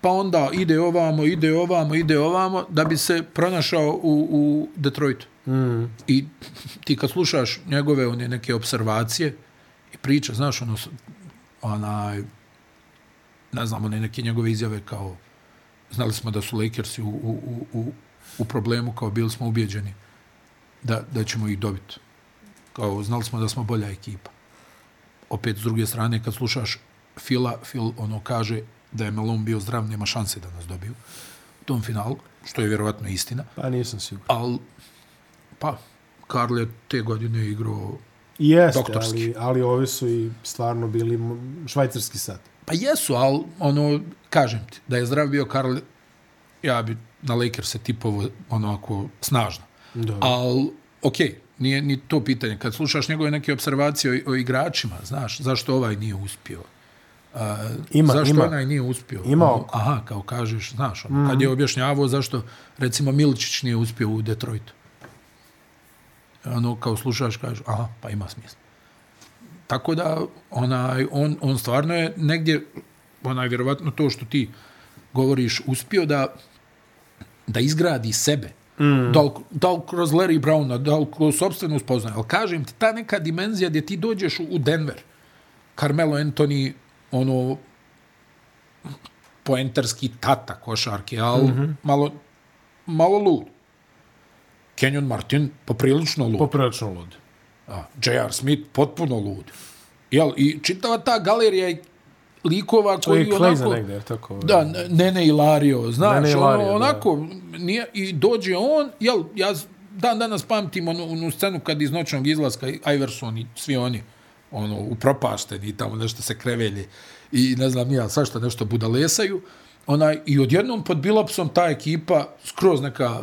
pa onda ide ovamo, ide ovamo, ide ovamo, da bi se pronašao u, u Detroitu. Mm. I ti kad slušaš njegove one neke observacije i priče, znaš, ono, s- onaj, ne znam, one neke njegove izjave kao, znali smo da su Lakersi u, u, u, u, u problemu, kao bili smo ubijeđeni da, da ćemo ih dobiti. Kao, znali smo da smo bolja ekipa opet s druge strane kad slušaš Fila, Fil ono kaže da je Malone bio zdrav, nema šanse da nas dobiju u tom finalu, što je vjerovatno istina, Pa nisam siguran. ali pa Karl je te godine igrao Jeste, Doktorski. ali, ali ovi su i stvarno bili m- švajcarski sat. pa jesu, ali ono kažem ti, da je zdrav bio Karl ja bi na Lakers se tipovo onako snažno Dobro. ali okej, nije ni to pitanje. Kad slušaš njegove neke observacije o, o igračima, znaš, zašto ovaj nije uspio? A, Ima, zašto ima. onaj nije uspio? Ima Mm. Ono, oko. aha, kao kažeš, znaš, ono, kad je objašnjavao zašto, recimo, Milčić nije uspio u Detroitu. Ono, kao slušaš, kažeš, aha, pa ima smisla. Tako da, onaj, on, on stvarno je negdje, onaj, vjerovatno to što ti govoriš, uspio da da izgradi sebe. Mm. Da, li, da li kroz Larry Browna, da li kroz sobstvenu spoznaju. Ali kažem ti, ta neka dimenzija gdje ti dođeš u- u Denver, Carmelo Anthony, ono, poentarski tata košarke, ali mm Mhm. -hmm. malo, malo lud. Kenyon Martin poprilično lud. Poprilično lud. A, J.R. Smith potpuno lud. Jel, I čitava ta galerija i likova To je koji Klejza onako... negde, je li tako? Da, ne- Nene Ilario, znaš, Nene Ilario, da. ono, onako, nije, i dođe on, jel, ja z- dan danas pamtim onu, onu scenu kad iz noćnog izlaska Iverson i svi oni, ono, upropašteni i tamo nešto se krevelje i ne znam ja, svašta nešto budalesaju, onaj, i odjednom pod Bilopsom ta ekipa skroz neka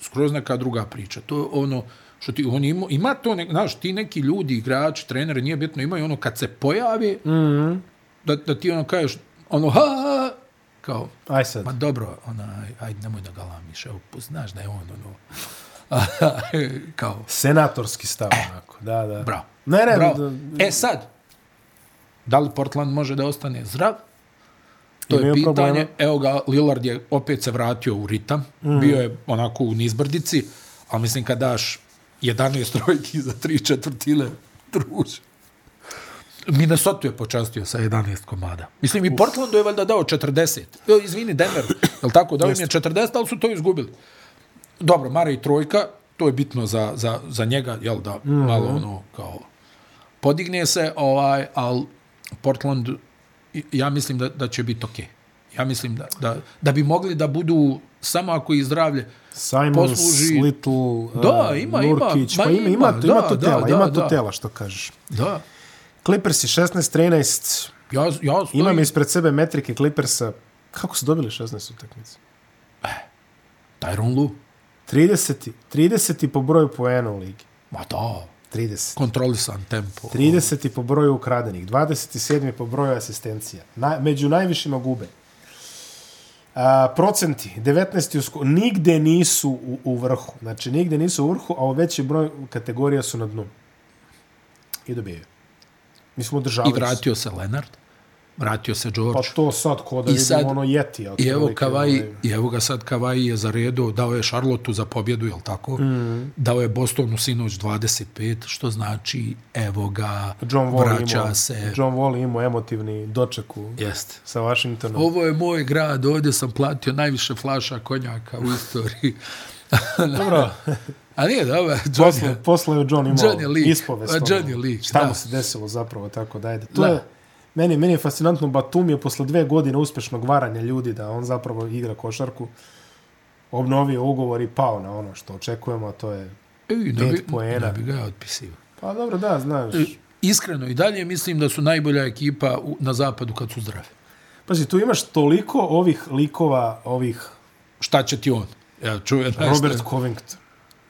skroz neka druga priča. To je ono što ti on ima, ima to, ne, znaš, ti neki ljudi, igrači, treneri, nije bitno, imaju ono kad se pojave, mm -hmm. da, da ti ono kažeš, ono, ha, ha, ha, kao, Aj sad. ma Pa dobro, onaj, ajde, nemoj da galamiš, evo, po- znaš da je on, ono, [laughs] kao, Senatorski stav, onako. Da, da. Eh, bravo. Ne, ne, bravo. da- E sad, da li Portland može da ostane zdrav? To Imaju je pitanje. problema. Mhm. Evo ga, Lillard je opet se vratio u ritam. Mm. Bio je onako u nizbrdici, ali mislim kad daš 11 trojki za 3 četvrtine, druže. Minnesota je počastio sa 11 komada. Mislim, i Portlandu je valjda dao 40. E, izvini, Denver, je li tako? Dao im je 40, ali su to izgubili. Dobro, Mare i trojka, to je bitno za, za, za njega, jel da, mm -hmm. malo ono, kao, podigne se, ovaj, ali Portland, i- ja mislim da, da će biti okej. Okay. Ja mislim da, da, da bi mogli da budu samo ako i zdravlje. Simons, posluži- Little, Da, eh, ima, ima, Nurkić, ma pa ima, ima, ima, tu- ima da, tu da, tela, da, ima tu da. tela, što kažeš. Da, Clippersi 16-13, ja, ja stojim. imam ispred sebe metrike Clippersa. Kako su dobili 16 utakmica? Tyron Lu. 30. 30. po broju poena u ligi. Ma da, 30. kontrolisan tempo. 30. po broju ukradenih, 27. po broju asistencija. Na, među najvišima gube. A, procenti, 19. U sko- nigde nisu u, u vrhu. Znači, nigde nisu u vrhu, a u veći broj kategorija su na dnu. I dobijaju. Mi smo održavali. I vratio se Lenard, vratio se Pa George. to sad ko da I vidim sad- ono Yeti. I evo, Kavaj, ovaj- I evo ga sad Kavaj je zaredo, dao je Šarlotu za pobjedu, jel tako? Mm. Dao je Bostonu sinoć 25, što znači evo ga, John Wall vraća imao, se. John Wall imao emotivni doček u, Jeste. sa Washingtonom. Ovo je moj grad, ovdje sam platio najviše flaša konjaka u istoriji. Dobro, A nije dobro, Johnny, posle, posle je John imao Johnny Lee. ispovest. A, ono, Johnny Lee, Šta da. mu se desilo zapravo, tako da, ajde. To Da. je, meni, meni je fascinantno, Batum je posle dve godine uspešnog varanja ljudi da on zapravo igra košarku, obnovio ugovor i pao na ono što očekujemo, a to je... Ej, ne Pet bi, poena. ne bi ga otpisivao. E, Pa dobro, da, znaš. Iskreno, i dalje mislim da su najbolja ekipa u, na zapadu kad su zdravi. Pazi, tu imaš toliko ovih likova, ovih Šta će ti on? Ja čujem Robert Covington.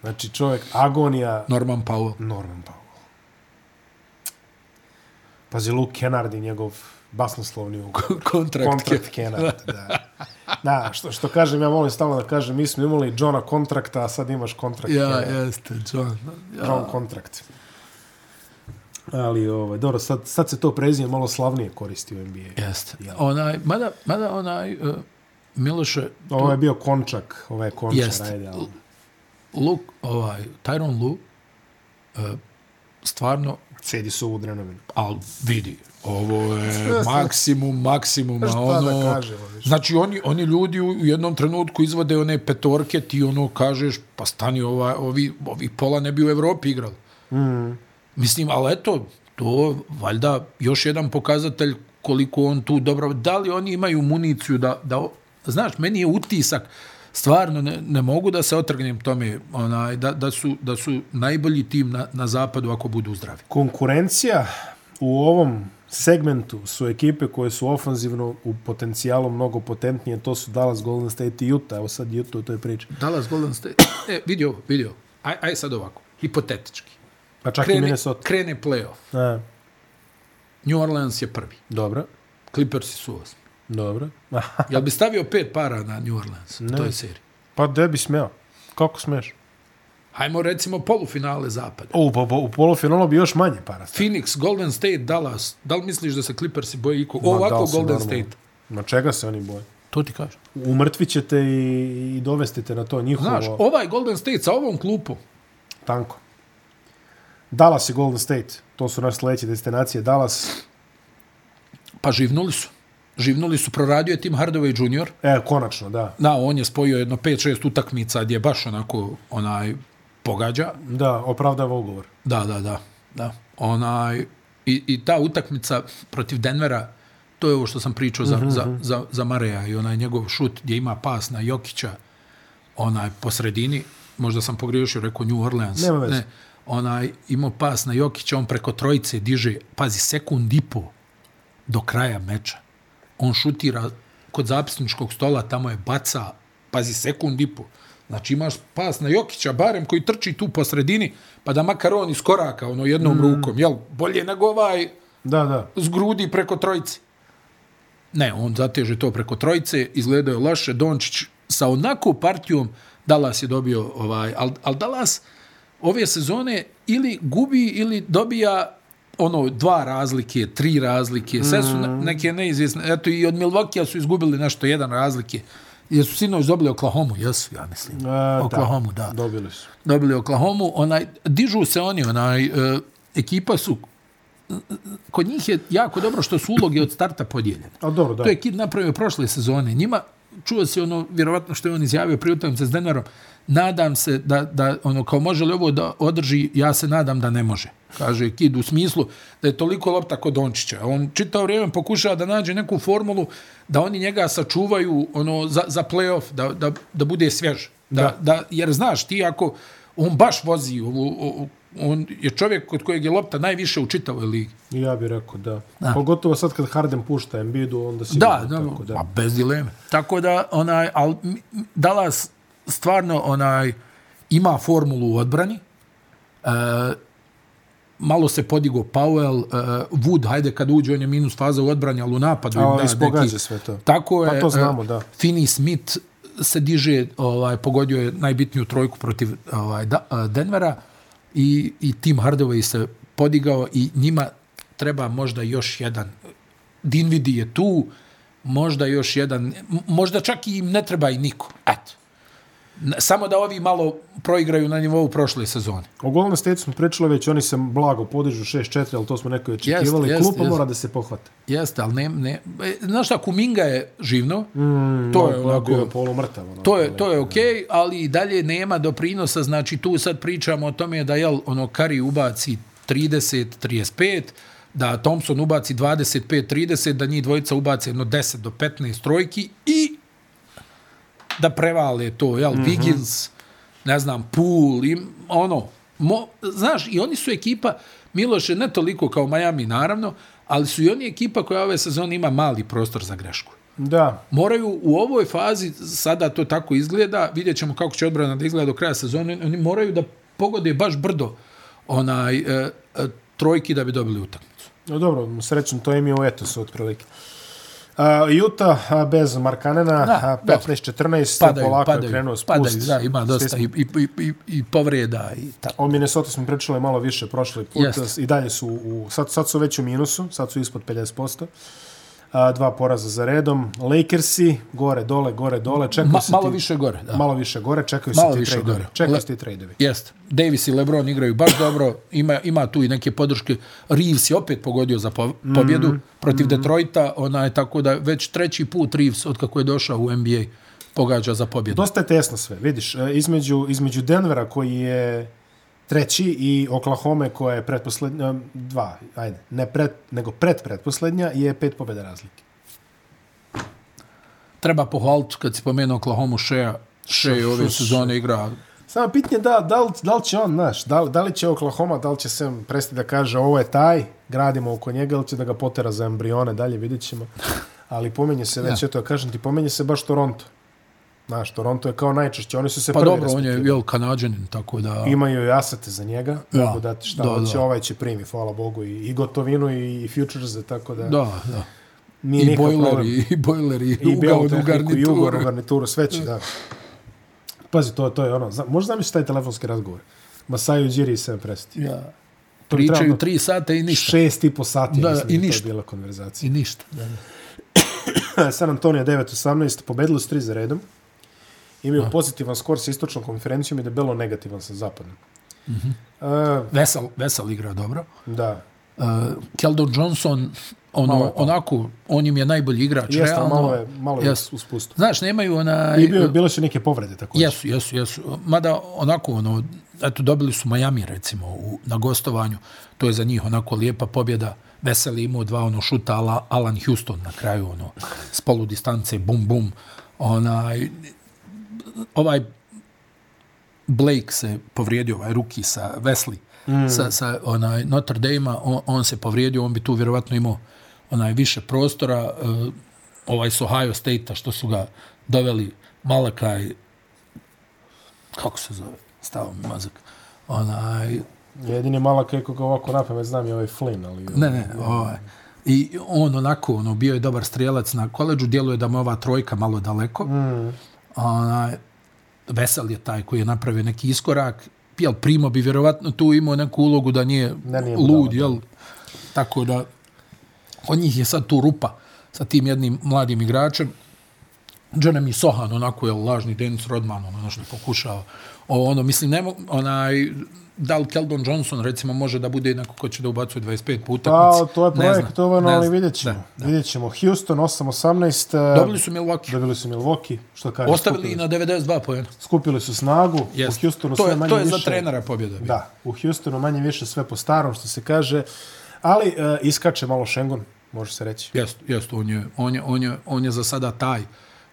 Znači čovjek, agonija, Norman Powell. [laughs] Norman Powell. Pazi, Luke Kennard i njegov basnoslovni ugovor. Kontrakt. Kontrakt Kenard, da. Da, što, što kažem, ja volim stalno da kažem, mi smo imali Johna kontrakta, a sad imaš kontrakt. Ja, Kenarda. jeste, John. Ja. John kontrakt. Ali, ovaj, dobro, sad, sad se to prezime malo slavnije koristi u NBA. Jeste. Onaj, mada, mada onaj, uh, Miloše, Ovo je bio končak, ovo je končar, Jeste. ajde, ali... Luke, ovaj, Tyron Lu, uh, stvarno, Cedi su ovu drenovinu. ali vidi, ovo je maksimum, maksimuma, Šta da ono... kažemo više? Znači, oni, oni ljudi u u jednom trenutku izvode one petorke, ti ono kažeš, pa stani, ova, ovi, ovi pola ne bi u Evropi igrali. Mm. Mislim, ali eto, to valjda još jedan pokazatelj koliko on tu dobro... Da li oni imaju municiju da... da o- znaš, meni je utisak, stvarno ne, ne mogu da se otrgnem tome, onaj, da, da, su, da su najbolji tim na, na zapadu ako budu zdravi. Konkurencija u ovom segmentu su ekipe koje su ofanzivno u potencijalu mnogo potentnije, to su Dallas, Golden State i Utah, evo sad Utah u toj priči. Dallas Golden State. E, vidi ovo, vidi ovo. Aj, aj sad ovako, hipotetički. Pa čak i Krene, Minnesota. krene playoff. A, New Orleans je prvi. dobro, Clippersi su osmi. dobro. Jel bi stavio pet para na New Orleans u toj seriji? [laughs] pa da bi smeo. Kako smeš? Hajmo recimo polufinale zapada. O, pa, pa, u polufinalu bi još manje para. stavio. Phoenix, Golden State, Dallas. Da li misliš da se Clippersi boje iko? Ovako dao se Golden normalno. State. Ma čega se oni boje? To ti kažem. Umrtvit ćete i, i dovestite na to njihovo Znaš, Znaš, o... ovaj Golden State sa ovom klupom. tanko. Dallas i Golden State, to su naše sledeće destinacije. Dallas, Pa živnuli su. Živnuli su, proradio je Tim Hardaway Jr. e, konačno, da. Da, on je spojio jedno 5-6 utakmica gdje baš onako onaj pogađa. Da, opravdava ugovor. Da, da, da. da. Onaj, i, I ta utakmica protiv Denvera, to je ovo što sam pričao za, mm Mhm, -hmm. za, za, za Mareja i onaj njegov šut gdje ima pas na Jokića, onaj po sredini, možda sam pogriješio, rekao New Orleans. Nema veze. Ne, onaj, imao pas na Jokića, on preko trojice diže, pazi, sekund i po do kraja meča. On šutira kod zapisničkog stola, tamo je baca, pazi, sekund i po. Znači imaš pas na Jokića, barem koji trči tu po sredini, pa da makar on iskoraka ono jednom mm. rukom, jel? Bolje nego ovaj Da, da. s grudi preko trojice. Ne, on zateže to preko trojice, izgledaju loše, Dončić sa onako partijom Dallas je dobio ovaj, al, al Dallas ove sezone ili gubi ili dobija ono dva razlike, tri razlike, sve su ne- neke neizvjesne. Eto i od Milvokija su izgubili nešto jedan razlike. Jer su sinoć dobili Oklahoma, jesu, ja mislim. E, da. Oklahoma, E, da Dobili su. dobili Oklahoma, onaj, dižu se oni, onaj, e, ekipa su, kod njih je jako dobro što su uloge od starta podijeljene. A dobro, da. To je Kid napravio prošle sezone. Njima, čuo se ono, vjerovatno što je on izjavio pri utakmici s Denverom, nadam se da, da ono, kao može li ovo da održi, ja se nadam da ne može. Kaže Kid u smislu da je toliko lopta kod Dončića. On čitao vrijeme pokušava da nađe neku formulu da oni njega sačuvaju ono, za, za playoff, da, da, da bude svjež. Da, da. da, jer znaš, ti ako on baš vozi, ovu- o- o- on je čovjek kod kojeg je lopta najviše u čitavoj ligi. I Ja bih rekao, da. Da. Pogotovo sad kad Harden pušta Embiidu, onda si... Da, da, tako, da. Pa da. bez dileme. Tako da, onaj, al, m- m- Dallas stvarno onaj, ima formulu u odbrani. E, malo se podigo Powell, e, Wood, hajde kad uđe, on je minus faza u odbrani, ali u napadu. im A, da ispogađa neki- sve to. Tako je. Pa to e, znamo, da. Finney Smith se diže, ovaj, pogodio je najbitniju trojku protiv e, ovaj, da, Denvera i, i Tim Hardaway se podigao i njima treba možda još jedan. Dinvidi je tu, možda još jedan, m- možda čak i im ne treba i niko. Eto. N- Samo da ovi malo proigraju na nivou prošle sezone. O golnom stetu smo pričali već, oni se blago podižu 6-4, ali to smo neko i očekivali. Jest, jest, Klupa jest. mora da se pohvate. Jeste, ali ne... ne e, znaš šta, Kuminga je živno, mm, to je onako... Bio je polumrtav. Ono, To je, to je okej, okay, ali i dalje nema doprinosa, znači tu sad pričamo o tome da jel, ono, Kari ubaci 30-35, da Thompson ubaci 25-30, da njih dvojica ubace no 10 do 15 trojki i da prevale to, jel, mm -hmm. Wiggins, ne znam, Pool, im, ono, mo, znaš, i oni su ekipa, Miloše, ne toliko kao Miami, naravno, ali su i oni ekipa koja ove sezone ima mali prostor za grešku Da, moraju u ovoj fazi, sada to tako izgleda, vidjet ćemo kako će odbrana da izgleda do kraja sezone, oni moraju da pogode baš brdo onaj, e, e, trojki da bi dobili utakmicu. No dobro, srećno, to im je u etosu otprilike. Uh, Juta a, bez Markanena, Da, da, dobro. 15-14, Padaju, polako padaju, je krenuo spust. padaju, da, ima dosta Svi i, smo- i, i, i, i povreda i tako. O Minnesota smo pričali malo više prošli put, Jeste. i dalje su, u, sad, sad su već u minusu, sad su ispod 50%. A, dva poraza za redom. Lakersi, gore, dole, gore, dole, čekaju Ma, se malo ti, više gore, da. malo više gore, čekaju Malo se ti više tradeovi. gore. Čekaju Le- se ti tradeovi. Jeste. Davis i LeBron igraju baš dobro, ima, ima tu i neke podrške. Reeves je opet pogodio za po, pobjedu Mhm, protiv Detroita, onaj, tako da već treći put Reeves, od kako je došao u NBA, pogađa za pobjedu. Dosta je tesno sve, vidiš, e, između, između Denvera koji je treći i Oklahoma koja je pretposlednja, em, dva, ajde, ne pred, nego pred pretposlednja je pet pobjeda razlike. treba pohvaliti kad si pomenuo Oklahoma Shea. Shea ove sezone igra Samo pitanje da, da li, da li će on, znaš, da, li- da li će Oklahoma, da li će Sam prestati da kaže ovo je taj, gradimo oko njega, ili će da ga potera za embrione, dalje vidjet ćemo. Ali pominje se već, eto, ja kažem ti, pominje se baš Toronto. Znaš, Toronto je kao najčešće, oni su se pa prvi dobro, on je jel, kanadžanin, tako da... imaju i asete za njega, Da. mogu dati šta Da, da, hoće, da. ovaj će primi, hvala Bogu, i, i gotovinu i, i futures, tako da, da. Da, da. nije I nikakav boiler, problem. i, i boiler, i, I ugao belu u tehniku, i ugovor u garnituru. garnituru, sve će, da. Pazi, to, to je ono, zna, možda zamisliš taj telefonski razgovor. Masaju Điri i Sam Presti. Ja. To bi Pričaju trebalo- tri sata i ništa. Šest i po sati, Da, da, da, mislim, da i je to ništa. bila konverzacija. [laughs] I ništa. Da, da. San Antonio 9-18, pobedilo s 3 za redom. Imaju pozitivan skor sa istočnom konferencijom i debelo negativan sa zapadnom. Mhm. Mm -hmm. Vesel, Vesel igra dobro. da, Uh, Keldon Johnson, ono, Malo je pao. onako, on im je najbolji igrač. jeste, realno. malo je, malo je Jeste. u spustu. Znaš, nemaju onaj... I bio, bile su neke povrede također. Jesu, jesu, jesu. Mada onako, ono, eto, dobili su Miami, recimo, u, na gostovanju. To je za njih onako lijepa pobjeda. Veseli imao dva ono šuta, ala, Alan Houston na kraju, ono, s polu distance, bum, bum. Onaj, ovaj Blake se povrijedio, ovaj ruki sa Wesley, mm. sa, sa onaj Notre Dame-a, on, on se povrijedio, on bi tu vjerovatno imao onaj više prostora, uh, ovaj s Ohio State-a što su ga doveli Malakaj, kako se zove, stao mi mozak, onaj, Jedini Malaka je koga ovako napamet znam je ovaj Flynn, ali... Ne, ne, ovaj. I on onako, ono, bio je dobar strijelac na koleđu, djeluje da mu je ova trojka malo daleko. Mm. Onaj, vesel je taj koji je napravio neki iskorak. Jel, Primo bi vjerovatno tu imao neku ulogu da nije, Da nije mu lud, dala, jel? Tako da, kod njih je sad tu rupa sa tim jednim mladim igračem. Jeremy Sohan, onako je lažni Dennis Rodman, ono, ono što je pokušao. O, ono, mislim, nemo, onaj, da li Keldon Johnson, recimo, može da bude neko ko će da ubacuje 25 puta. Pa, to je Ne znam, projektovano, ne ali znam. vidjet ćemo. Da. Vidjet ćemo. Houston 8-18. eh, Dobili su Milwaukee. Dobili su Milwaukee, što kaže. Ostavili i skupili, na 92 pojena. skupili su snagu. U Yes. Houstonu To sve je, manje to je više. za trenera pobjeda. bila. Da, u Houstonu manje više sve po starom, što se kaže. Ali eh, iskače malo Schengen, može se reći. Jest, jest, on je, on je, on je, on je za sada taj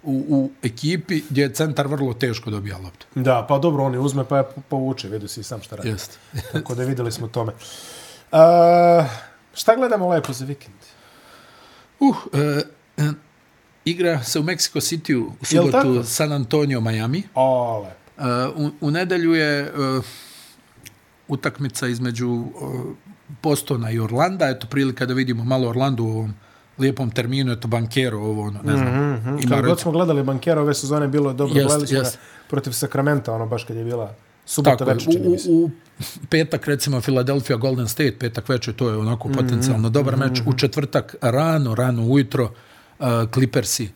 u, u ekipi gdje je centar vrlo teško dobija loptu. Da, pa dobro, on je uzme pa je po- povuče, vidio si i sam šta radi. Jest. Tako da videli smo tome. Uh, šta gledamo lepo za vikend? Uh, e, e, igra se u Mexico City u tako? subotu San Antonio, Miami. O, lepo. Uh, u, u nedelju je uh, utakmica između uh, Bostona i Orlanda. Eto, prilika da vidimo malo Orlandu u ovom lijepom terminu. Eto, bankero ovo, ono, ne znam. Mm mhm. -hmm. Kad god smo gledali bankera ove sezone, bilo je dobro. Jest, gledali smo jest. ga protiv Sakramenta, ono baš kad je bila Subota je, večer, čini mi se. u, u petak recimo Philadelphia Golden State, petak večer to je onako Mhm. potencijalno dobar meč. U četvrtak rano, rano ujutro uh, Clippersi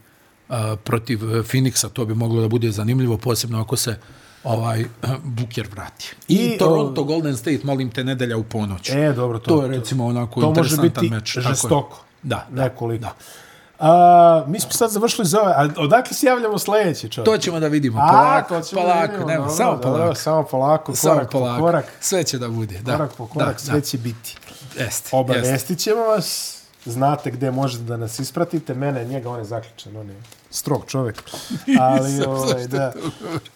uh, protiv uh, Phoenixa, to bi moglo da bude zanimljivo, posebno ako se ovaj [clears throat] uh, Booker vrati. I, I, Toronto Golden State, molim te, nedelja u ponoć. E, dobro, to, to je recimo onako to može interesantan biti meč. tako je. žestoko. Da, da. Nekoliko. Da. A, mi smo sad završili za ove. A odakle se javljamo sljedeći čovjek? To ćemo da vidimo. A, Polako, to ćemo da polako, vidimo, nema, dobro, samo dobro, polako. Samo polako, Samo korak polako. po korak. Sve će da bude. Da. Korak po korak, da, sve da. će biti. Jeste, jeste. Obavijestit ćemo vas. Znate gde možete da nas ispratite. Mene, njega, on je zaključan. On je strog [laughs] čovjek. Ali, ovaj, da,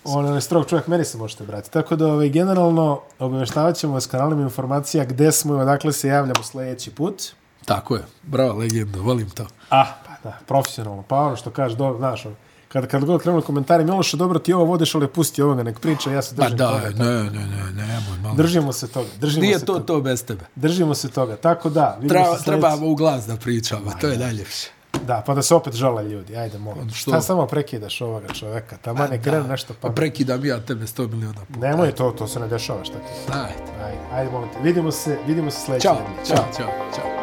on je strog čovjek, meni se možete brati. Tako da, ovaj, generalno, obavještavat ćemo vas kanalima informacija gde smo i odakle se javljamo sljedeći put. Tako je. Brava legenda, volim to. Ah, pa da, profesionalno. Pa ono što kažeš, dobro, znaš, ono, kad, kad god krenu komentari, Miloše, dobro ti ovo vodiš, ali pusti ovoga, nek priča, ja se Pa držim da, toga. ne, ne, ne, ne, nemoj, malo. Držimo se toga, držimo Nije se to toga. to bez tebe. Držimo se toga, tako da. vidimo Treba, se sljedeći- trebamo u glas da pričamo, to je najljepše. Da, pa da se opet žale ljudi, ajde, molim. što? Šta samo prekidaš ovoga čoveka, tamo ne krenu nešto Pa pa... prekidam ja tebe 100 miliona puta. Nemoj to, to se ne dešava, šta ti? Ajde. Ajde, ajde, molim te. Vidimo se, vidimo se sljedeće. Ćao, nedelje. čao, čao, čao.